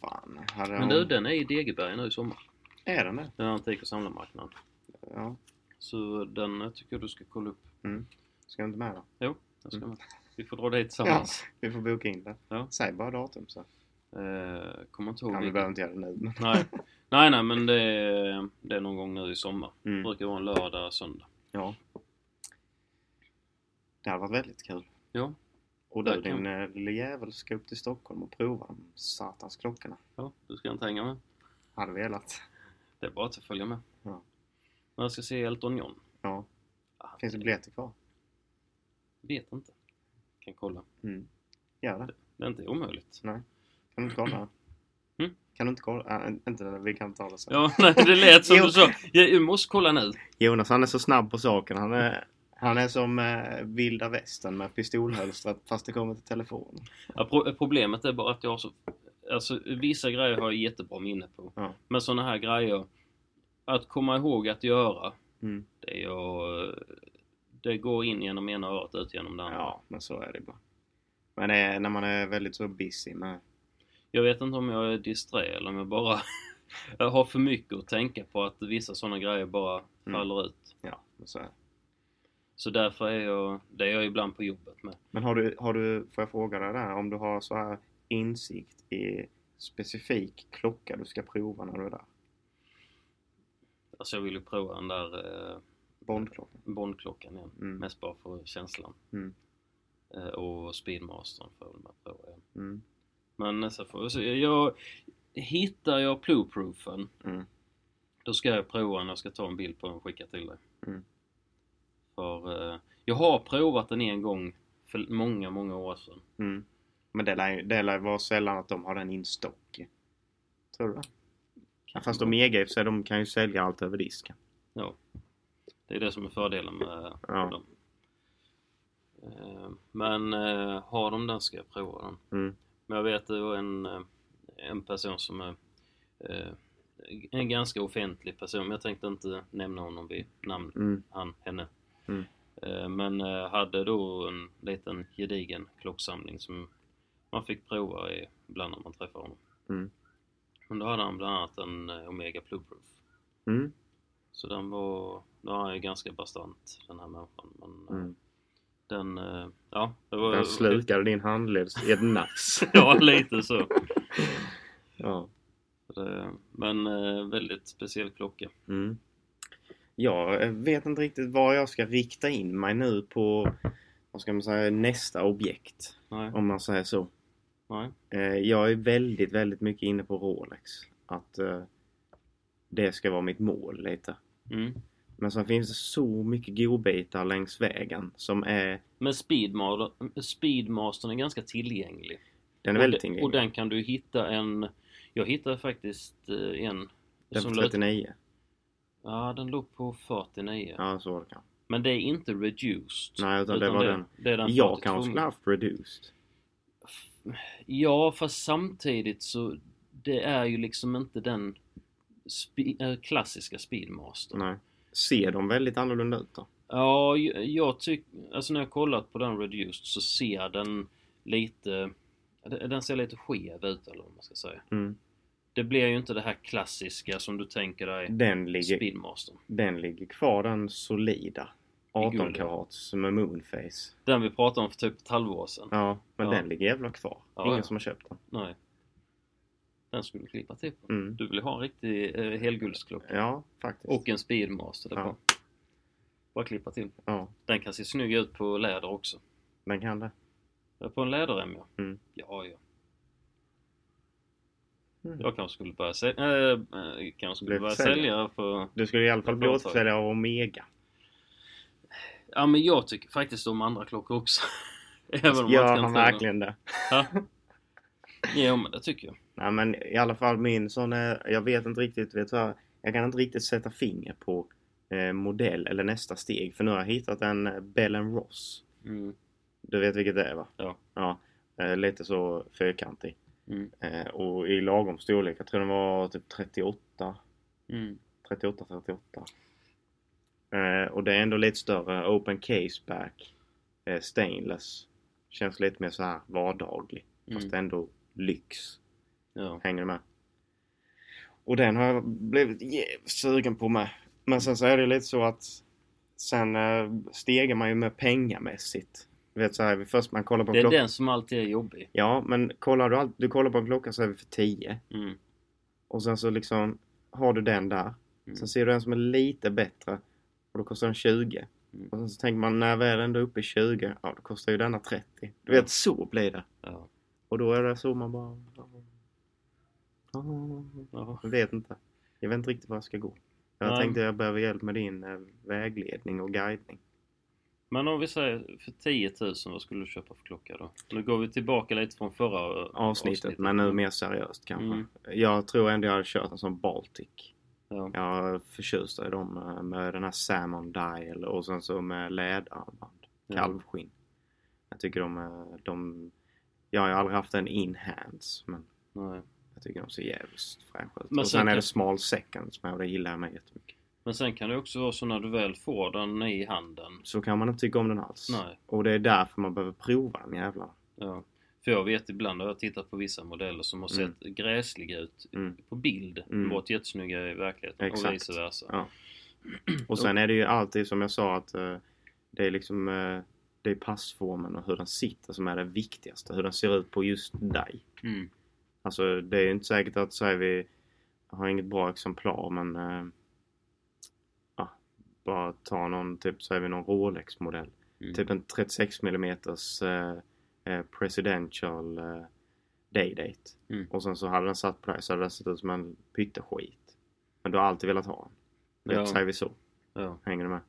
Speaker 1: Fan. Hade
Speaker 2: Men
Speaker 1: hon-
Speaker 2: du, den är i Degeberg nu i sommar.
Speaker 1: Är den det?
Speaker 2: Den antik och samlarmarknaden.
Speaker 1: Ja. Mm.
Speaker 2: Så den eh, tycker jag du ska kolla upp.
Speaker 1: Ska du inte med då?
Speaker 2: Den ska
Speaker 1: Mm.
Speaker 2: med. Vi får dra dit tillsammans.
Speaker 1: Vi får boka in det.
Speaker 2: Ja.
Speaker 1: Säg bara datum så.
Speaker 2: Eh, kommer inte ihåg
Speaker 1: Ja, vi
Speaker 2: vilken-
Speaker 1: behöver inte göra det nu. men-
Speaker 2: Nej. nej, nej men det är, det är någon gång nu i sommar. Det
Speaker 1: Mm.
Speaker 2: brukar vara en lördag, söndag.
Speaker 1: Ja. Det hade varit väldigt kul.
Speaker 2: Ja.
Speaker 1: Och du
Speaker 2: Verkligen.
Speaker 1: din eh, lille jävel ska upp till Stockholm och prova de satans klockorna.
Speaker 2: ja. Du ska inte hänga med.
Speaker 1: Hade velat.
Speaker 2: Det är bara att följa med.
Speaker 1: Ja.
Speaker 2: Men jag ska se Elton John.
Speaker 1: Ja.
Speaker 2: Ah,
Speaker 1: Finns det biljetter kvar?
Speaker 2: Vet inte. Kan kolla.
Speaker 1: Mm. Gör det.
Speaker 2: Det är inte omöjligt.
Speaker 1: Kan du inte kolla?
Speaker 2: Mm.
Speaker 1: Kan du inte kolla? Äh, inte det, vi kan ta det sen.
Speaker 2: Ja, nej, det lät som
Speaker 1: Jo.
Speaker 2: du sa. Jag, jag måste kolla nu.
Speaker 1: Jonas han är så snabb på saken. Han är, han är som eh, vilda västern med pistolhölstret fast det kommer till telefonen.
Speaker 2: Ja, pro- problemet är bara att jag har så... Alltså, vissa grejer har jag jättebra minne på.
Speaker 1: Ja.
Speaker 2: Men sådana här grejer, att komma ihåg att göra,
Speaker 1: Mm.
Speaker 2: det, är jag, det går in genom ena örat ut genom det andra.
Speaker 1: Ja, men så är det bara. Men eh, när man är väldigt så busy med...
Speaker 2: Jag vet inte om jag är disträ eller om jag bara jag har för mycket att tänka på att vissa sådana grejer bara
Speaker 1: Mm.
Speaker 2: faller ut.
Speaker 1: Ja, men så är det.
Speaker 2: Så därför är jag, det är jag ibland på jobbet med.
Speaker 1: Men har du, har du, får jag fråga dig där, om du har så här insikt i specifik klocka du ska prova när du är där?
Speaker 2: Alltså jag vill ju prova den där eh,
Speaker 1: Bondklockan?
Speaker 2: Bondklockan igen.
Speaker 1: Mm.
Speaker 2: Mest bara för känslan.
Speaker 1: Mm.
Speaker 2: Eh, och Speedmastern får jag väl med prova igen.
Speaker 1: Mm.
Speaker 2: Men så får vi se. Jag, hittar jag blueproofen
Speaker 1: Mm.
Speaker 2: då ska jag prova den. Jag ska ta en bild på den och skicka till dig.
Speaker 1: Mm.
Speaker 2: För eh, jag har provat den en gång för många, många år sedan.
Speaker 1: Mm. Men det lär, ju- det lär vara sällan att de har den in stock. Tror du det? Ja, fast de är EG så de kan ju sälja allt över disken.
Speaker 2: Det är det som är fördelen med
Speaker 1: Ja.
Speaker 2: dem. Eh, Men eh, har de den ska jag prova den.
Speaker 1: Mm.
Speaker 2: Men jag vet det var en, eh, en person som är eh, en ganska offentlig person. men Jag tänkte inte nämna honom vid namn,
Speaker 1: Mm.
Speaker 2: han, henne.
Speaker 1: Mm.
Speaker 2: Eh, Men eh, hade då en liten gedigen klocksamling som man fick prova i- ibland när man träffade honom.
Speaker 1: Mm.
Speaker 2: Men då hade han bland annat en eh, Omega Blueproof.
Speaker 1: Mm.
Speaker 2: Så den var, den var ju ganska bastant den här människan. Men eh,
Speaker 1: Mm.
Speaker 2: den, eh, ja. Det var,
Speaker 1: Den slukade din handled i ett nafs.
Speaker 2: Ja, lite så.
Speaker 1: ja.
Speaker 2: Det- Men eh, väldigt speciell klocka.
Speaker 1: Mm. Jag eh, vet inte riktigt var jag ska rikta in mig nu på vad ska man säga, nästa objekt.
Speaker 2: Nej,
Speaker 1: Om man säger så.
Speaker 2: nej.
Speaker 1: Eh, Jag är väldigt, väldigt mycket inne på Rolex. Att eh, det ska vara mitt mål lite.
Speaker 2: Mm.
Speaker 1: Men sen finns det så mycket godbitar längs vägen som är...
Speaker 2: Men Speedmaster, Speedmastern är ganska tillgänglig.
Speaker 1: Den är
Speaker 2: Och de-
Speaker 1: väldigt
Speaker 2: Och
Speaker 1: tillgänglig.
Speaker 2: den kan du hitta en... Jag hittade faktiskt eh, en...
Speaker 1: Den
Speaker 2: som
Speaker 1: för 39.
Speaker 2: Löd, ja, den låg på 49.
Speaker 1: Ja, så var det kanske.
Speaker 2: Men det är inte reduced.
Speaker 1: Nej, utan det var
Speaker 2: det,
Speaker 1: den.
Speaker 2: Det är den
Speaker 1: Jag
Speaker 2: 42.
Speaker 1: kanske skulle haft reduced.
Speaker 2: Ja, fast samtidigt så... Det är ju liksom inte den spe, eh, klassiska Speedmastern.
Speaker 1: Nej. Ser de väldigt annorlunda ut då?
Speaker 2: Ja, jag, jag tycker... Alltså när jag kollat på den reduced så ser den lite... Den den ser lite skev ut eller vad man ska säga.
Speaker 1: Mm.
Speaker 2: Det blir ju inte det här klassiska som du tänker dig
Speaker 1: Den ligger,
Speaker 2: Speedmastern.
Speaker 1: den ligger kvar, den solida.
Speaker 2: I guld.
Speaker 1: 18 karats med moonface.
Speaker 2: Den vi pratade om för typ ett halvår sedan.
Speaker 1: Ja, men
Speaker 2: Ja.
Speaker 1: den ligger jävla kvar.
Speaker 2: Ja,
Speaker 1: Ingen
Speaker 2: ja.
Speaker 1: som har köpt den.
Speaker 2: Nej. Den skulle du klippa till på.
Speaker 1: Mm.
Speaker 2: Du vill ha en riktig eh, helguldsklocka.
Speaker 1: Ja, faktiskt.
Speaker 2: Och en Speedmaster. Det är
Speaker 1: Ja.
Speaker 2: bara, bara klippa till.
Speaker 1: Ja,
Speaker 2: Den kan se snygg ut på läder också.
Speaker 1: den kan det.
Speaker 2: Eh, På en läderrem ja.
Speaker 1: Mm.
Speaker 2: Ja, ja.
Speaker 1: Mm.
Speaker 2: Jag kanske skulle börja sälja, äh, kanske skulle
Speaker 1: Bli
Speaker 2: börja
Speaker 1: försäljare.
Speaker 2: sälja för...
Speaker 1: Du skulle i alla fall bli
Speaker 2: Företag.
Speaker 1: återförsäljare av Omega.
Speaker 2: Ja men jag tycker faktiskt om andra klockor också. Även om
Speaker 1: Gör
Speaker 2: man inte
Speaker 1: han
Speaker 2: kan tro det.
Speaker 1: verkligen det?
Speaker 2: Ja. Jo, men det tycker jag.
Speaker 1: Nej men i alla fall min sån är, jag vet inte riktigt, vet du, vad, jag kan inte riktigt sätta finger på eh, modell eller nästa steg. För nu har jag hittat en eh, Bell Ross.
Speaker 2: Mm.
Speaker 1: Du vet vilket det är va?
Speaker 2: Ja.
Speaker 1: Ja, eh, lite så fyrkantig.
Speaker 2: Mm.
Speaker 1: Eh, och i lagom storlek, jag tror den var typ 38.
Speaker 2: Mm.
Speaker 1: 38, 38. Eh, och det är ändå lite större. Open case back. Eh, stainless. Känns lite mer så här vardaglig. Fast
Speaker 2: Mm.
Speaker 1: ändå lyx.
Speaker 2: Ja.
Speaker 1: Hänger du med? Och den har jag blivit jävligt sugen på med. Men sen så är det lite så att sen eh, stegar man ju med pengamässigt. Du vet så här, först man kollar på en
Speaker 2: Det är
Speaker 1: klocka.
Speaker 2: den som alltid är jobbig.
Speaker 1: Ja, men kollar du, all... du kollar på en klocka så är vi för 10.
Speaker 2: Mm.
Speaker 1: Och sen så liksom har du den där.
Speaker 2: Mm.
Speaker 1: Sen ser du en som är lite bättre och då kostar den 20.
Speaker 2: Mm.
Speaker 1: Och sen så tänker man när vi är ändå uppe i 20, ja då kostar ju denna 30. Du vet, så blir det.
Speaker 2: Ja.
Speaker 1: Och då är det så man bara...
Speaker 2: Ja.
Speaker 1: Jag vet inte. Jag vet inte riktigt var jag ska gå. Jag
Speaker 2: Nej.
Speaker 1: tänkte jag behöver hjälp med din eh, vägledning och guidning.
Speaker 2: Men om vi säger för 10 000, vad skulle du köpa för klocka då? Nu går vi tillbaka lite från förra eh,
Speaker 1: Avsnittet, men nu mer seriöst kanske.
Speaker 2: Mm.
Speaker 1: Jag tror ändå jag hade kört en sån Baltic.
Speaker 2: Ja.
Speaker 1: Jag är förtjust i dem eh, med den här Salmon Dial och sen så med läderarmband.
Speaker 2: Ja.
Speaker 1: Kalvskinn. Jag tycker de, eh, de... Jag har ju aldrig haft en in-hands men
Speaker 2: Nej.
Speaker 1: jag tycker de ser jävligt fräscha ut.
Speaker 2: Men
Speaker 1: Och
Speaker 2: sen
Speaker 1: sen är
Speaker 2: kan-
Speaker 1: det small seconds med och det gillar jag med jättemycket.
Speaker 2: Men sen kan det också vara så när du väl får den i handen.
Speaker 1: Så kan man inte tycka om den alls.
Speaker 2: Nej.
Speaker 1: Och det är därför man behöver prova den jävlarna.
Speaker 2: Ja. För jag vet ibland har jag tittat på vissa modeller som har
Speaker 1: Mm.
Speaker 2: sett gräsliga ut
Speaker 1: Mm.
Speaker 2: på bild.
Speaker 1: Mm.
Speaker 2: Mm. Varit jättesnygga i verkligheten
Speaker 1: Exakt.
Speaker 2: och vice versa.
Speaker 1: Ja. Och sen är det ju alltid som jag sa att eh, det är liksom eh, det är passformen och hur den sitter som är det viktigaste. Hur den ser ut på just dig.
Speaker 2: Mm.
Speaker 1: Alltså det är ju inte säkert att säger vi jag har inget bra exemplar men eh, ja, bara ta någon typ säger vi någon Rolex modell.
Speaker 2: Mm.
Speaker 1: Typ en 36 mm eh, eh, presidential eh, day-date.
Speaker 2: Mm.
Speaker 1: Och sen så hade den satt på dig så hade den sett ut som en pytteskit. Men du har alltid velat ha den. Det
Speaker 2: Ja.
Speaker 1: säger vi så.
Speaker 2: Ja.
Speaker 1: Hänger du med?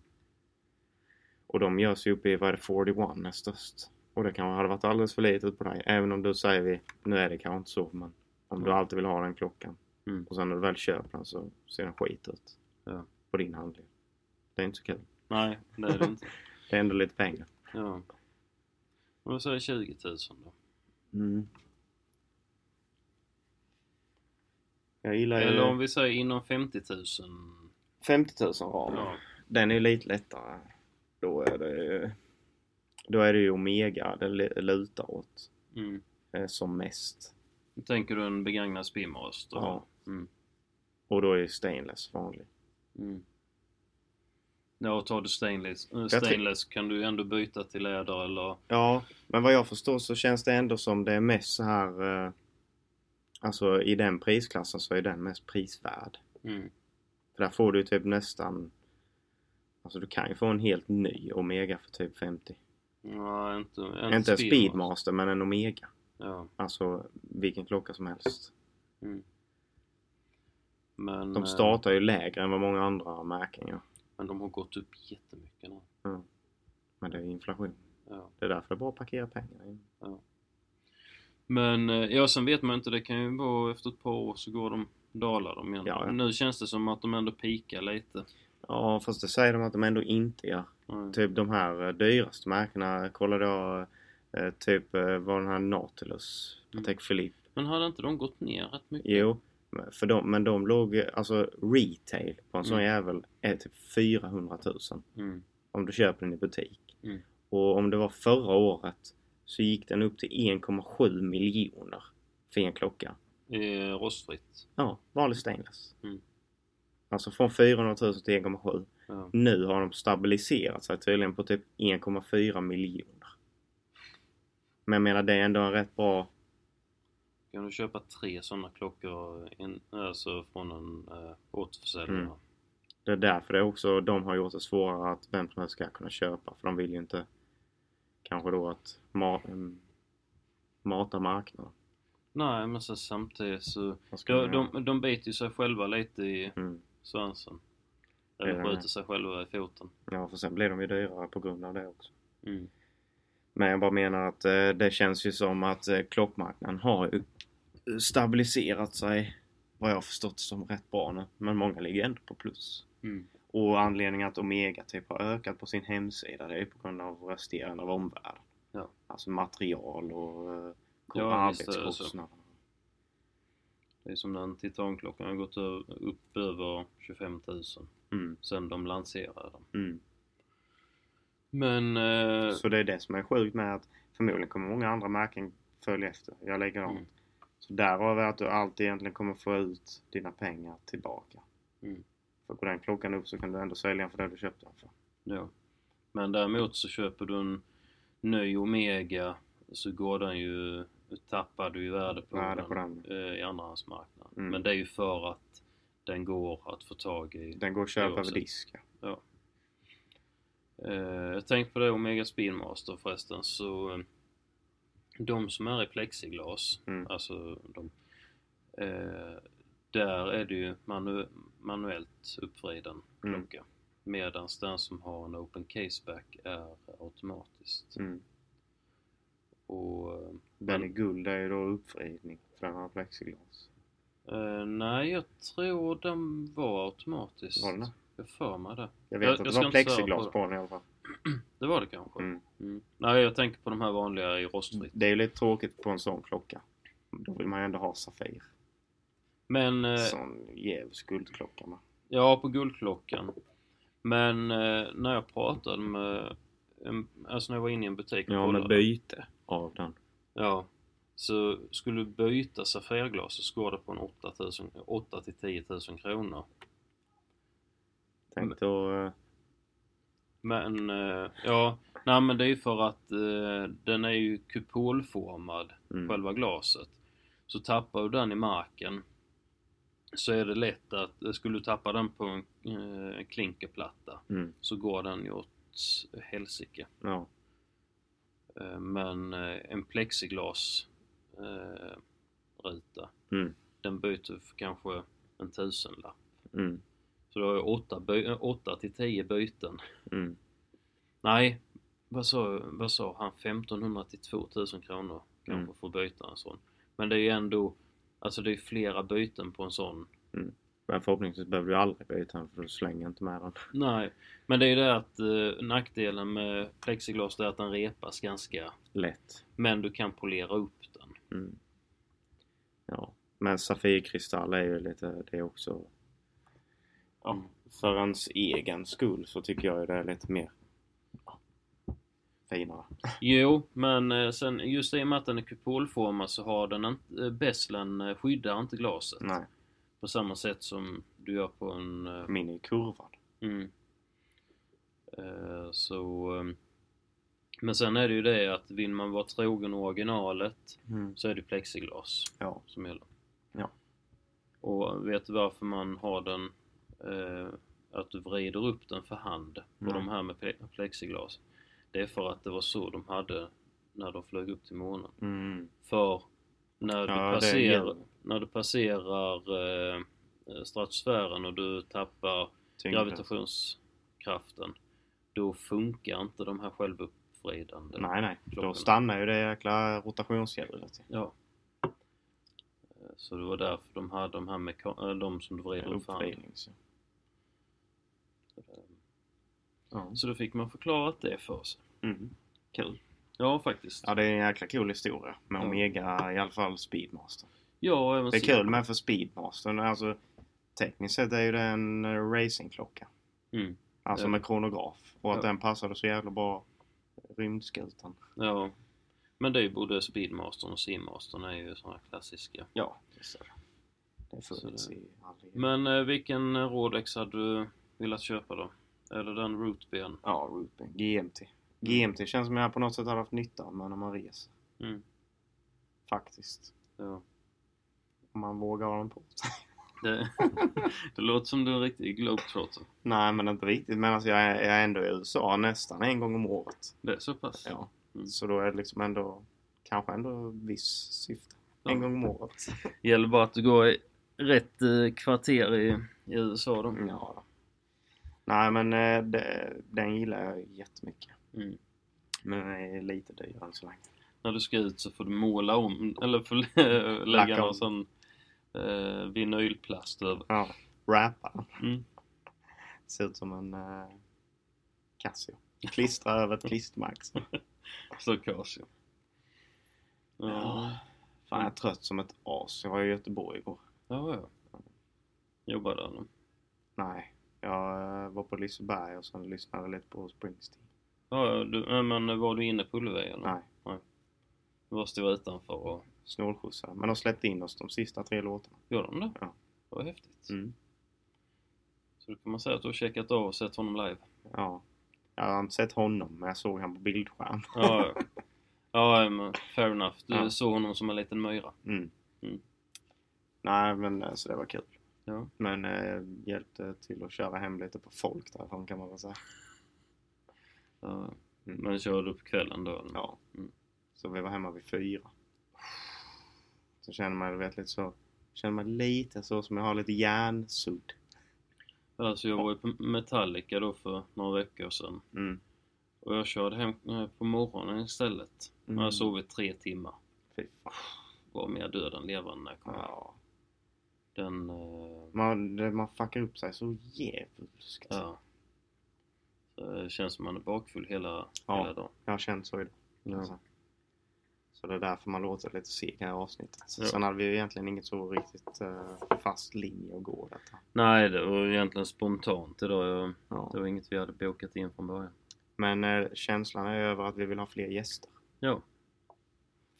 Speaker 1: Och de görs ju uppe i, vad är det, 41 är störst. Och det kanske hade varit alldeles för litet på dig. Även om du säger vi, nu är det kanske inte så men om du
Speaker 2: Mm.
Speaker 1: alltid vill ha den klockan.
Speaker 2: Mm.
Speaker 1: Och sen när du väl köper den så ser den skit ut.
Speaker 2: Ja.
Speaker 1: På din handling. Det är inte så kul.
Speaker 2: Nej, det är det inte.
Speaker 1: Det är ändå lite pengar.
Speaker 2: Ja. Om vi säger 20 000 då. Mm.
Speaker 1: Jag gillar ju
Speaker 2: Eller om vi säger inom 50 000.
Speaker 1: 50 000 ram.
Speaker 2: Ja.
Speaker 1: Den är ju lite lättare. Då är det ju... Då är det ju Omega det lu- lutar åt.
Speaker 2: Mm.
Speaker 1: eh, Som mest.
Speaker 2: Tänker du en begagnad spinmaster?
Speaker 1: Ja.
Speaker 2: Mm.
Speaker 1: Och då är stainless vanlig.
Speaker 2: Mm. Ja, och tar du stainless, eh,
Speaker 1: tror-
Speaker 2: stainless kan du ju ändå byta till läder eller...
Speaker 1: Ja, men vad jag förstår så känns det ändå som det är mest så här... Eh, alltså i den prisklassen så är den mest prisvärd.
Speaker 2: Mm.
Speaker 1: För där får du typ nästan... Alltså du kan ju få en helt ny Omega för typ 50.
Speaker 2: Nej, inte
Speaker 1: Inte, en Speedmaster men en Omega.
Speaker 2: Ja.
Speaker 1: Alltså vilken klocka som helst.
Speaker 2: Mm. Men,
Speaker 1: De
Speaker 2: eh,
Speaker 1: startar ju lägre än vad många andra märken gör.
Speaker 2: men de har gått upp jättemycket nu.
Speaker 1: Men det är inflation.
Speaker 2: Ja.
Speaker 1: Det är därför det är bra att parkera pengar. i.
Speaker 2: Men eh, ja, sen vet man inte. Det kan ju vara efter ett par år så går de dalar de igen.
Speaker 1: Ja, ja.
Speaker 2: Nu känns det som att de ändå pikar lite.
Speaker 1: Ja, fast det säger de att de ändå inte gör.
Speaker 2: Mm.
Speaker 1: Typ de här eh, dyraste märkena. Kolla då eh, typ eh, var den här Nautilus,
Speaker 2: Mm.
Speaker 1: Patek Philippe.
Speaker 2: Men hade inte de gått ner rätt mycket?
Speaker 1: Jo, men- för de, men de låg eh, alltså retail på en sån
Speaker 2: Mm.
Speaker 1: jävel är typ 400 000
Speaker 2: Mm.
Speaker 1: om du köper den i butik.
Speaker 2: Mm.
Speaker 1: Och om det var förra året så gick den upp till 1,7 miljoner för en klocka.
Speaker 2: Eh, rostfritt.
Speaker 1: Ja, vanlig stainless.
Speaker 2: Mm.
Speaker 1: Alltså från 400 000 till 1,7.
Speaker 2: Ja.
Speaker 1: Nu har de stabiliserat sig tydligen på typ 1,4 miljoner. Men jag menar det är ändå en rätt bra...
Speaker 2: Kan du köpa tre sådana klockor in, alltså från en eh, återförsäljare?
Speaker 1: Mm. Det är därför det är också de har gjort det svårare att vem som helst ska kunna köpa. För de vill ju inte kanske då att ma- mm, mata marknaden.
Speaker 2: Nej, men sen samtidigt så...
Speaker 1: Vad ska
Speaker 2: De,
Speaker 1: man göra?
Speaker 2: de, de biter ju sig själva lite i
Speaker 1: Mm.
Speaker 2: svansen.
Speaker 1: Det är
Speaker 2: Eller
Speaker 1: de.
Speaker 2: skjuter sig själva i foten.
Speaker 1: Ja, för sen blir de ju dyrare på grund av det också.
Speaker 2: Mm.
Speaker 1: Men jag bara menar att eh, det känns ju som att eh, klockmarknaden har ju stabiliserat sig vad jag har förstått som rätt bra nu. Men många ligger ändå på plus.
Speaker 2: Mm.
Speaker 1: Och anledningen att Omega typ har ökat på sin hemsida det är ju på grund av resterande av omvärlden.
Speaker 2: Ja.
Speaker 1: Alltså material och eh,
Speaker 2: Ja, visst är det så.
Speaker 1: arbetskostnader.
Speaker 2: Det är som den titanklockan har gått ö- upp över 25 000
Speaker 1: Mm,
Speaker 2: sen de lanserade den.
Speaker 1: mm.
Speaker 2: Men... Eh,
Speaker 1: Så det är det som är sjukt med att förmodligen kommer många andra märken följa efter. Jag lägger om.
Speaker 2: Mm.
Speaker 1: Så därav är att du alltid egentligen kommer få ut dina pengar tillbaka.
Speaker 2: Mm.
Speaker 1: För går den klockan upp så kan du ändå sälja den för det du köpte den för.
Speaker 2: ja. Men däremot så köper du en ny Omega så går den ju... Tappar du ju värde på
Speaker 1: Värde
Speaker 2: den,
Speaker 1: på den.
Speaker 2: Eh, i andrahandsmarknaden.
Speaker 1: Mm.
Speaker 2: Men det är ju för att den går att få tag i.
Speaker 1: Den går att köpa över
Speaker 2: Oavsett.
Speaker 1: disk. ja.
Speaker 2: Eh, jag tänkte på det Omega Spinmaster förresten så eh, de som är i plexiglas,
Speaker 1: Mm.
Speaker 2: alltså de, eh, där är det ju manu- manuellt uppvriden
Speaker 1: Mm.
Speaker 2: klocka. Medan den som har en open caseback är automatiskt.
Speaker 1: Mm.
Speaker 2: Och,
Speaker 1: Den i guld är ju då uppvridning för den har plexiglas.
Speaker 2: eh, nej, jag tror den var automatisk.
Speaker 1: Var den det?
Speaker 2: Jag för mig det.
Speaker 1: Jag vet
Speaker 2: Jag- jag
Speaker 1: att det
Speaker 2: ska
Speaker 1: var
Speaker 2: inte svära på
Speaker 1: plexiglas
Speaker 2: det.
Speaker 1: på den i alla fall.
Speaker 2: Det var det kanske?
Speaker 1: Mm.
Speaker 2: Mm. Nej, jag tänker på de här vanliga i rostfritt.
Speaker 1: Det är ju lite tråkigt på en sån klocka. Då vill man ju ändå ha Safir.
Speaker 2: Men... eh,
Speaker 1: Sån djävulsk guldklocka med.
Speaker 2: Ja, på guldklockan. Men eh, när jag pratade med... En, alltså när jag var inne i en butik och kollade.
Speaker 1: byte av den.
Speaker 2: Ja. Så skulle du byta Safirglas så går det på en 8000 8 till 10 000 kronor.
Speaker 1: Tänk då... eh,
Speaker 2: Men eh, ja, nej men det är ju för att eh, den är ju kupolformad,
Speaker 1: Mm.
Speaker 2: själva glaset. Så tappar du den i marken så är det lätt att, eh, skulle du tappa den på en eh, klinkerplatta
Speaker 1: Mm.
Speaker 2: så går den ju åt helsike.
Speaker 1: Ja.
Speaker 2: Eh, Men eh, en plexiglas eh, ruta,
Speaker 1: Mm.
Speaker 2: den byter för kanske en tusenlapp.
Speaker 1: Mm.
Speaker 2: Så du har ju 8, by- eh, åtta till 10 byten.
Speaker 1: Mm.
Speaker 2: Nej, vad sa, vad sa han? 1500 till 2000 kronor kanske
Speaker 1: Mm.
Speaker 2: för att byta en sån. Men det är ju ändå, alltså det är flera byten på en sån.
Speaker 1: Men förhoppningsvis behöver du aldrig byta den för du slänger inte med den.
Speaker 2: Nej, men det är ju det att eh, nackdelen med plexiglas det är att den repas ganska,
Speaker 1: Lätt.
Speaker 2: men du kan polera upp den.
Speaker 1: Mm. Ja. Men Safirkristall är ju lite det är också. Ja. För ens egen skull så tycker jag ju det är lite mer ja, finare.
Speaker 2: Jo, men eh, sen just i och med att den är kupolformad så har den inte, eh, bäslen eh, skyddar inte glaset.
Speaker 1: Nej,
Speaker 2: På samma sätt som du gör på en... eh,
Speaker 1: min är ju kurvad.
Speaker 2: Mm. Eh, Så... eh, Men sen är det ju det att vill man vara trogen originalet
Speaker 1: Mm.
Speaker 2: så är det plexiglas
Speaker 1: Ja.
Speaker 2: som gäller.
Speaker 1: Ja.
Speaker 2: Och vet du varför man har den... Eh, att du vrider upp den för hand på
Speaker 1: Nej.
Speaker 2: de här med ple- plexiglas. Det är för att det var så de hade när de flög upp till månen.
Speaker 1: Mm.
Speaker 2: För när du
Speaker 1: Ja, det är
Speaker 2: passerar,
Speaker 1: ju-
Speaker 2: när du passerar eh, stratosfären och du tappar
Speaker 1: Tyngre.
Speaker 2: gravitationskraften, då funkar inte de här självuppvridande.
Speaker 1: Nej, nej. Då
Speaker 2: Klockorna.
Speaker 1: stannar ju det jäkla rotationshjulet.
Speaker 2: Ja. Eh, Så det var därför de hade de här meka- eh, de som du vrider upp för hand.
Speaker 1: Uppvridning. så. Ja.
Speaker 2: Eh, Så då fick man förklarat det för sig.
Speaker 1: Mm. Kul.
Speaker 2: Ja, faktiskt.
Speaker 1: Ja, det är en jäkla cool historia med
Speaker 2: Ja.
Speaker 1: Omega, i alla fall Speedmaster.
Speaker 2: Ja, och även
Speaker 1: Det är
Speaker 2: så-
Speaker 1: kul med för Speedmastern, alltså tekniskt sett är ju det en eh, racingklocka.
Speaker 2: Mm.
Speaker 1: Alltså
Speaker 2: Ja.
Speaker 1: med kronograf. Och att
Speaker 2: Ja.
Speaker 1: den passade så jävla bra rymdskutan.
Speaker 2: Ja. Men det är ju både Speedmastern och Seamastern är ju sådana klassiska.
Speaker 1: Ja, just det. Det funnits
Speaker 2: Så det-
Speaker 1: i aldrig.
Speaker 2: Men eh, vilken eh, Rolex hade du velat köpa då? Eller den Rootben?
Speaker 1: Ja, Rupen. GMT. GMT känns som jag på något sätt har haft nytta av men när man reser.
Speaker 2: Mm.
Speaker 1: Faktiskt.
Speaker 2: Ja.
Speaker 1: Om man vågar ha den på sig.
Speaker 2: Det, det låter som du är en riktig globetrotter.
Speaker 1: Nej, men inte riktigt. Men alltså jag är, jag är ändå i USA nästan en gång om året.
Speaker 2: Det är så pass?
Speaker 1: Ja.
Speaker 2: Mm.
Speaker 1: Så då är det liksom ändå kanske ändå viss syfte.
Speaker 2: Ja.
Speaker 1: En gång om året.
Speaker 2: Gäller bara att du går i rätt eh, kvarter i, i USA då.
Speaker 1: Ja. då. Nej men eh, det, den gillar jag jättemycket.
Speaker 2: Mm.
Speaker 1: Men den är lite dyrare än så länge.
Speaker 2: När du ska ut så får du måla om, eller får lägga
Speaker 1: Lacka om.
Speaker 2: någon sån eh, vinylplast över.
Speaker 1: Ja. Wrappa.
Speaker 2: Mm.
Speaker 1: Ser ut som en eh, Casio. Klistra över ett klistermärke.
Speaker 2: Så Casio. Ja,
Speaker 1: Ja. Fan, jag är trött som ett as. Jag var i Göteborg igår.
Speaker 2: ja, ja. Jobbar där nu.
Speaker 1: Nej, jag eh, var på Liseberg och sen lyssnade lite på Springsteen.
Speaker 2: Ja, ja, du, eh, men var du inne på Ullevi eller?
Speaker 1: Nej,
Speaker 2: Du bara stod utanför och...
Speaker 1: snålskjutsar. Men de släppte in oss de sista tre låtarna.
Speaker 2: Gjorde de det?
Speaker 1: Ja.
Speaker 2: Det var häftigt.
Speaker 1: Mm.
Speaker 2: Så då kan man säga att du har checkat av och sett honom live.
Speaker 1: Ja. Jag har inte sett honom, men jag såg han på bildskärm.
Speaker 2: Ja, ja. ja men fair enough. Du
Speaker 1: Ja.
Speaker 2: såg honom som en liten myra.
Speaker 1: Mm.
Speaker 2: Mm.
Speaker 1: Nej, men eh, så det var kul.
Speaker 2: Ja.
Speaker 1: Men eh, hjälpte till att köra hem lite på folk därifrån kan man väl säga.
Speaker 2: Ja.
Speaker 1: Mm.
Speaker 2: Men körde du på kvällen då? eller?
Speaker 1: Ja.
Speaker 2: Mm.
Speaker 1: Så vi var hemma vid fyra. Så känner man, du vet, lite så. Känner man lite så som jag har lite hjärnsudd.
Speaker 2: Alltså jag var ju på Metallica då för några veckor sedan.
Speaker 1: Mm.
Speaker 2: Och jag körde hem eh, på morgonen istället.
Speaker 1: Mm.
Speaker 2: Och jag sov i tre timmar.
Speaker 1: Fy fan.
Speaker 2: Var mer död än levande när jag kom hem.
Speaker 1: Ja.
Speaker 2: Den... eh,
Speaker 1: Man, det- man fuckar upp sig så djävulskt.
Speaker 2: Ja. Så det känns som man är bakfull hela,
Speaker 1: Ja.
Speaker 2: hela dagen.
Speaker 1: Jag har känt så idag.
Speaker 2: Ja.
Speaker 1: Alltså. Så det är därför man låter lite seg i det här avsnittet. Så
Speaker 2: Ja.
Speaker 1: Sen hade vi ju egentligen inget så riktigt eh, fast linje att gå detta.
Speaker 2: Nej, det var egentligen spontant idag. Jag, det
Speaker 1: Ja.
Speaker 2: var inget vi hade bokat in från början.
Speaker 1: Men eh, känslan är över att vi vill ha fler gäster.
Speaker 2: Ja.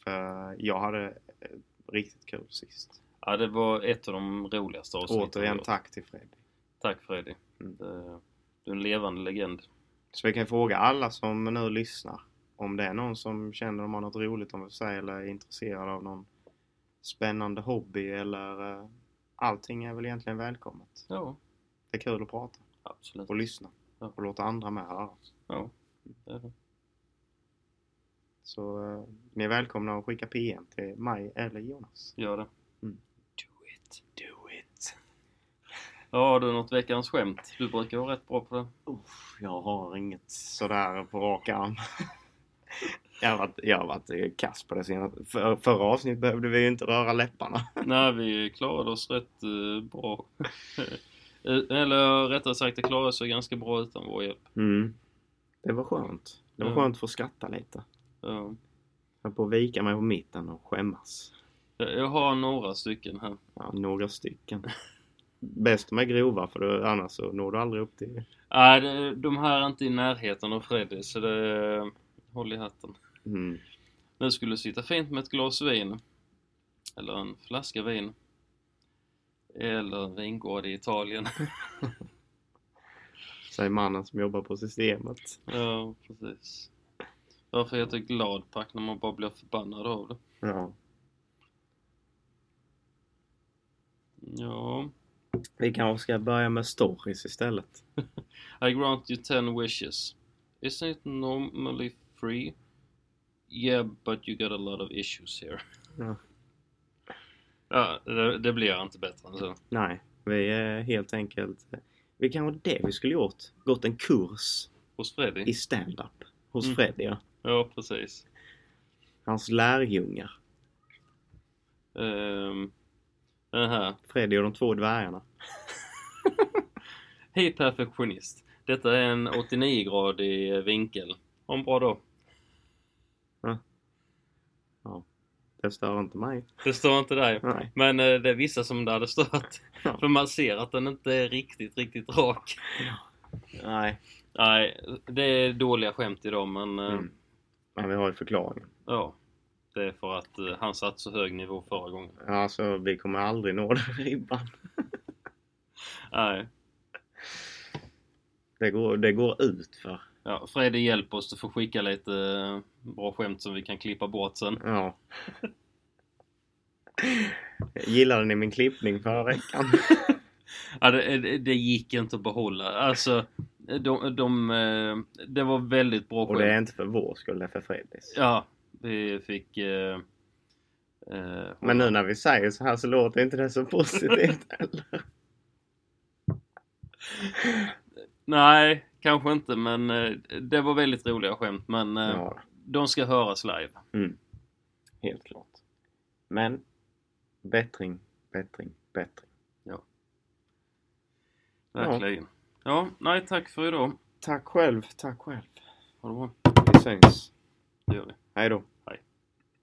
Speaker 1: För jag hade eh, riktigt kul sist.
Speaker 2: Ja, det var ett av de roligaste avsnitten. vi
Speaker 1: Återigen
Speaker 2: gjort.
Speaker 1: tack till Fredrik.
Speaker 2: Tack Freddy.
Speaker 1: Mm.
Speaker 2: Det- Du är en levande legend.
Speaker 1: Så vi kan fråga alla som nu lyssnar om det är någon som känner de har något roligt om sig eller är intresserad av någon spännande hobby eller eh, allting är väl egentligen välkommet.
Speaker 2: Ja,
Speaker 1: Det är kul att prata
Speaker 2: absolut.
Speaker 1: och lyssna
Speaker 2: Ja.
Speaker 1: och låta andra med höra.
Speaker 2: Ja, det är det.
Speaker 1: Så eh, ni är välkomna att skicka PM till mig eller Jonas.
Speaker 2: Gör det.
Speaker 1: Mm.
Speaker 2: Do it.
Speaker 1: Do it!
Speaker 2: Ja, du något veckans skämt. Du brukar vara rätt bra på det.
Speaker 1: Uff, jag har inget sådär på rak arm. jag har varit, jag har varit eh, kass på det senaste. För, förra avsnittet behövde vi ju inte röra läpparna.
Speaker 2: Nej, vi klarade oss rätt eh, bra. Eh, Eller rättare sagt, det klarade sig ganska bra utan vår hjälp.
Speaker 1: Mm. Det var skönt. Det var
Speaker 2: Mm.
Speaker 1: skönt att få skratta lite.
Speaker 2: Ja.
Speaker 1: Jag höll på att vika mig på mitten och skämmas.
Speaker 2: Jag har några stycken här.
Speaker 1: Ja, några stycken. Bäst med grova för då- annars så når du aldrig upp till...
Speaker 2: Nej, det- de här är inte i närheten av Freddy, så det... Håll i hatten.
Speaker 1: Mm.
Speaker 2: Nu skulle det sitta fint med ett glas vin. Eller en flaska vin. Eller en vingård i Italien.
Speaker 1: Säger mannen som jobbar på systemet.
Speaker 2: ja, precis. Varför heter gladpack när man bara blir förbannad av det?
Speaker 1: Ja.
Speaker 2: Ja...
Speaker 1: Vi kanske ska börja med stories istället.
Speaker 2: I grant you ten wishes. Isn't it normally free? Yeah, but you got a lot of issues here.
Speaker 1: Ja.
Speaker 2: Ja, det, det blir inte bättre än så.
Speaker 1: Nej, vi är helt enkelt... Vi kanske det vi skulle gjort. Gått en kurs
Speaker 2: Hos
Speaker 1: i
Speaker 2: Freddy?
Speaker 1: stand-up. Hos
Speaker 2: Mm.
Speaker 1: Freddy, ja.
Speaker 2: Ja, precis.
Speaker 1: Hans lärjungar.
Speaker 2: Um, den här.
Speaker 1: Freddy och de två dvärgarna.
Speaker 2: Hej perfektionist. Detta är en 89-gradig vinkel. Ha en bra dag.
Speaker 1: Det stör inte mig.
Speaker 2: Det står inte där.
Speaker 1: Nej.
Speaker 2: Men eh, det är vissa som det hade stört.
Speaker 1: Ja.
Speaker 2: För man ser att den inte är riktigt, riktigt rak.
Speaker 1: Nej.
Speaker 2: Nej, det är dåliga skämt idag men... eh,
Speaker 1: Mm. Men vi har ju förklaringen.
Speaker 2: Ja. Det är för att eh, han satt så hög nivå förra gången.
Speaker 1: Alltså, vi kommer aldrig nå den ribban.
Speaker 2: Nej.
Speaker 1: Det går, det går ut för.
Speaker 2: Ja, Freddy hjälper oss. Du får skicka lite eh, bra skämt som vi kan klippa bort sen.
Speaker 1: Ja. Gillade ni min klippning förra veckan?
Speaker 2: Ja, det, det- det gick inte att behålla. Alltså, de, de, eh, det var väldigt bra
Speaker 1: Och det är
Speaker 2: skämt.
Speaker 1: inte för vår skull, det är för Fredriks.
Speaker 2: Ja, vi fick... Eh, eh,
Speaker 1: Men nu när vi säger så här så låter inte det så positivt heller.
Speaker 2: Nej, kanske inte, men eh, det var väldigt roliga skämt. Men eh,
Speaker 1: Ja, Mm.
Speaker 2: de ska höras live.
Speaker 1: helt klart. Men bättring, bättring, bättring. Ja.
Speaker 2: Verkligen. Ja, nej tack för idag.
Speaker 1: Tack själv, tack själv.
Speaker 2: Ha det bra.
Speaker 1: Vi syns.
Speaker 2: Det gör vi.
Speaker 1: Hej då.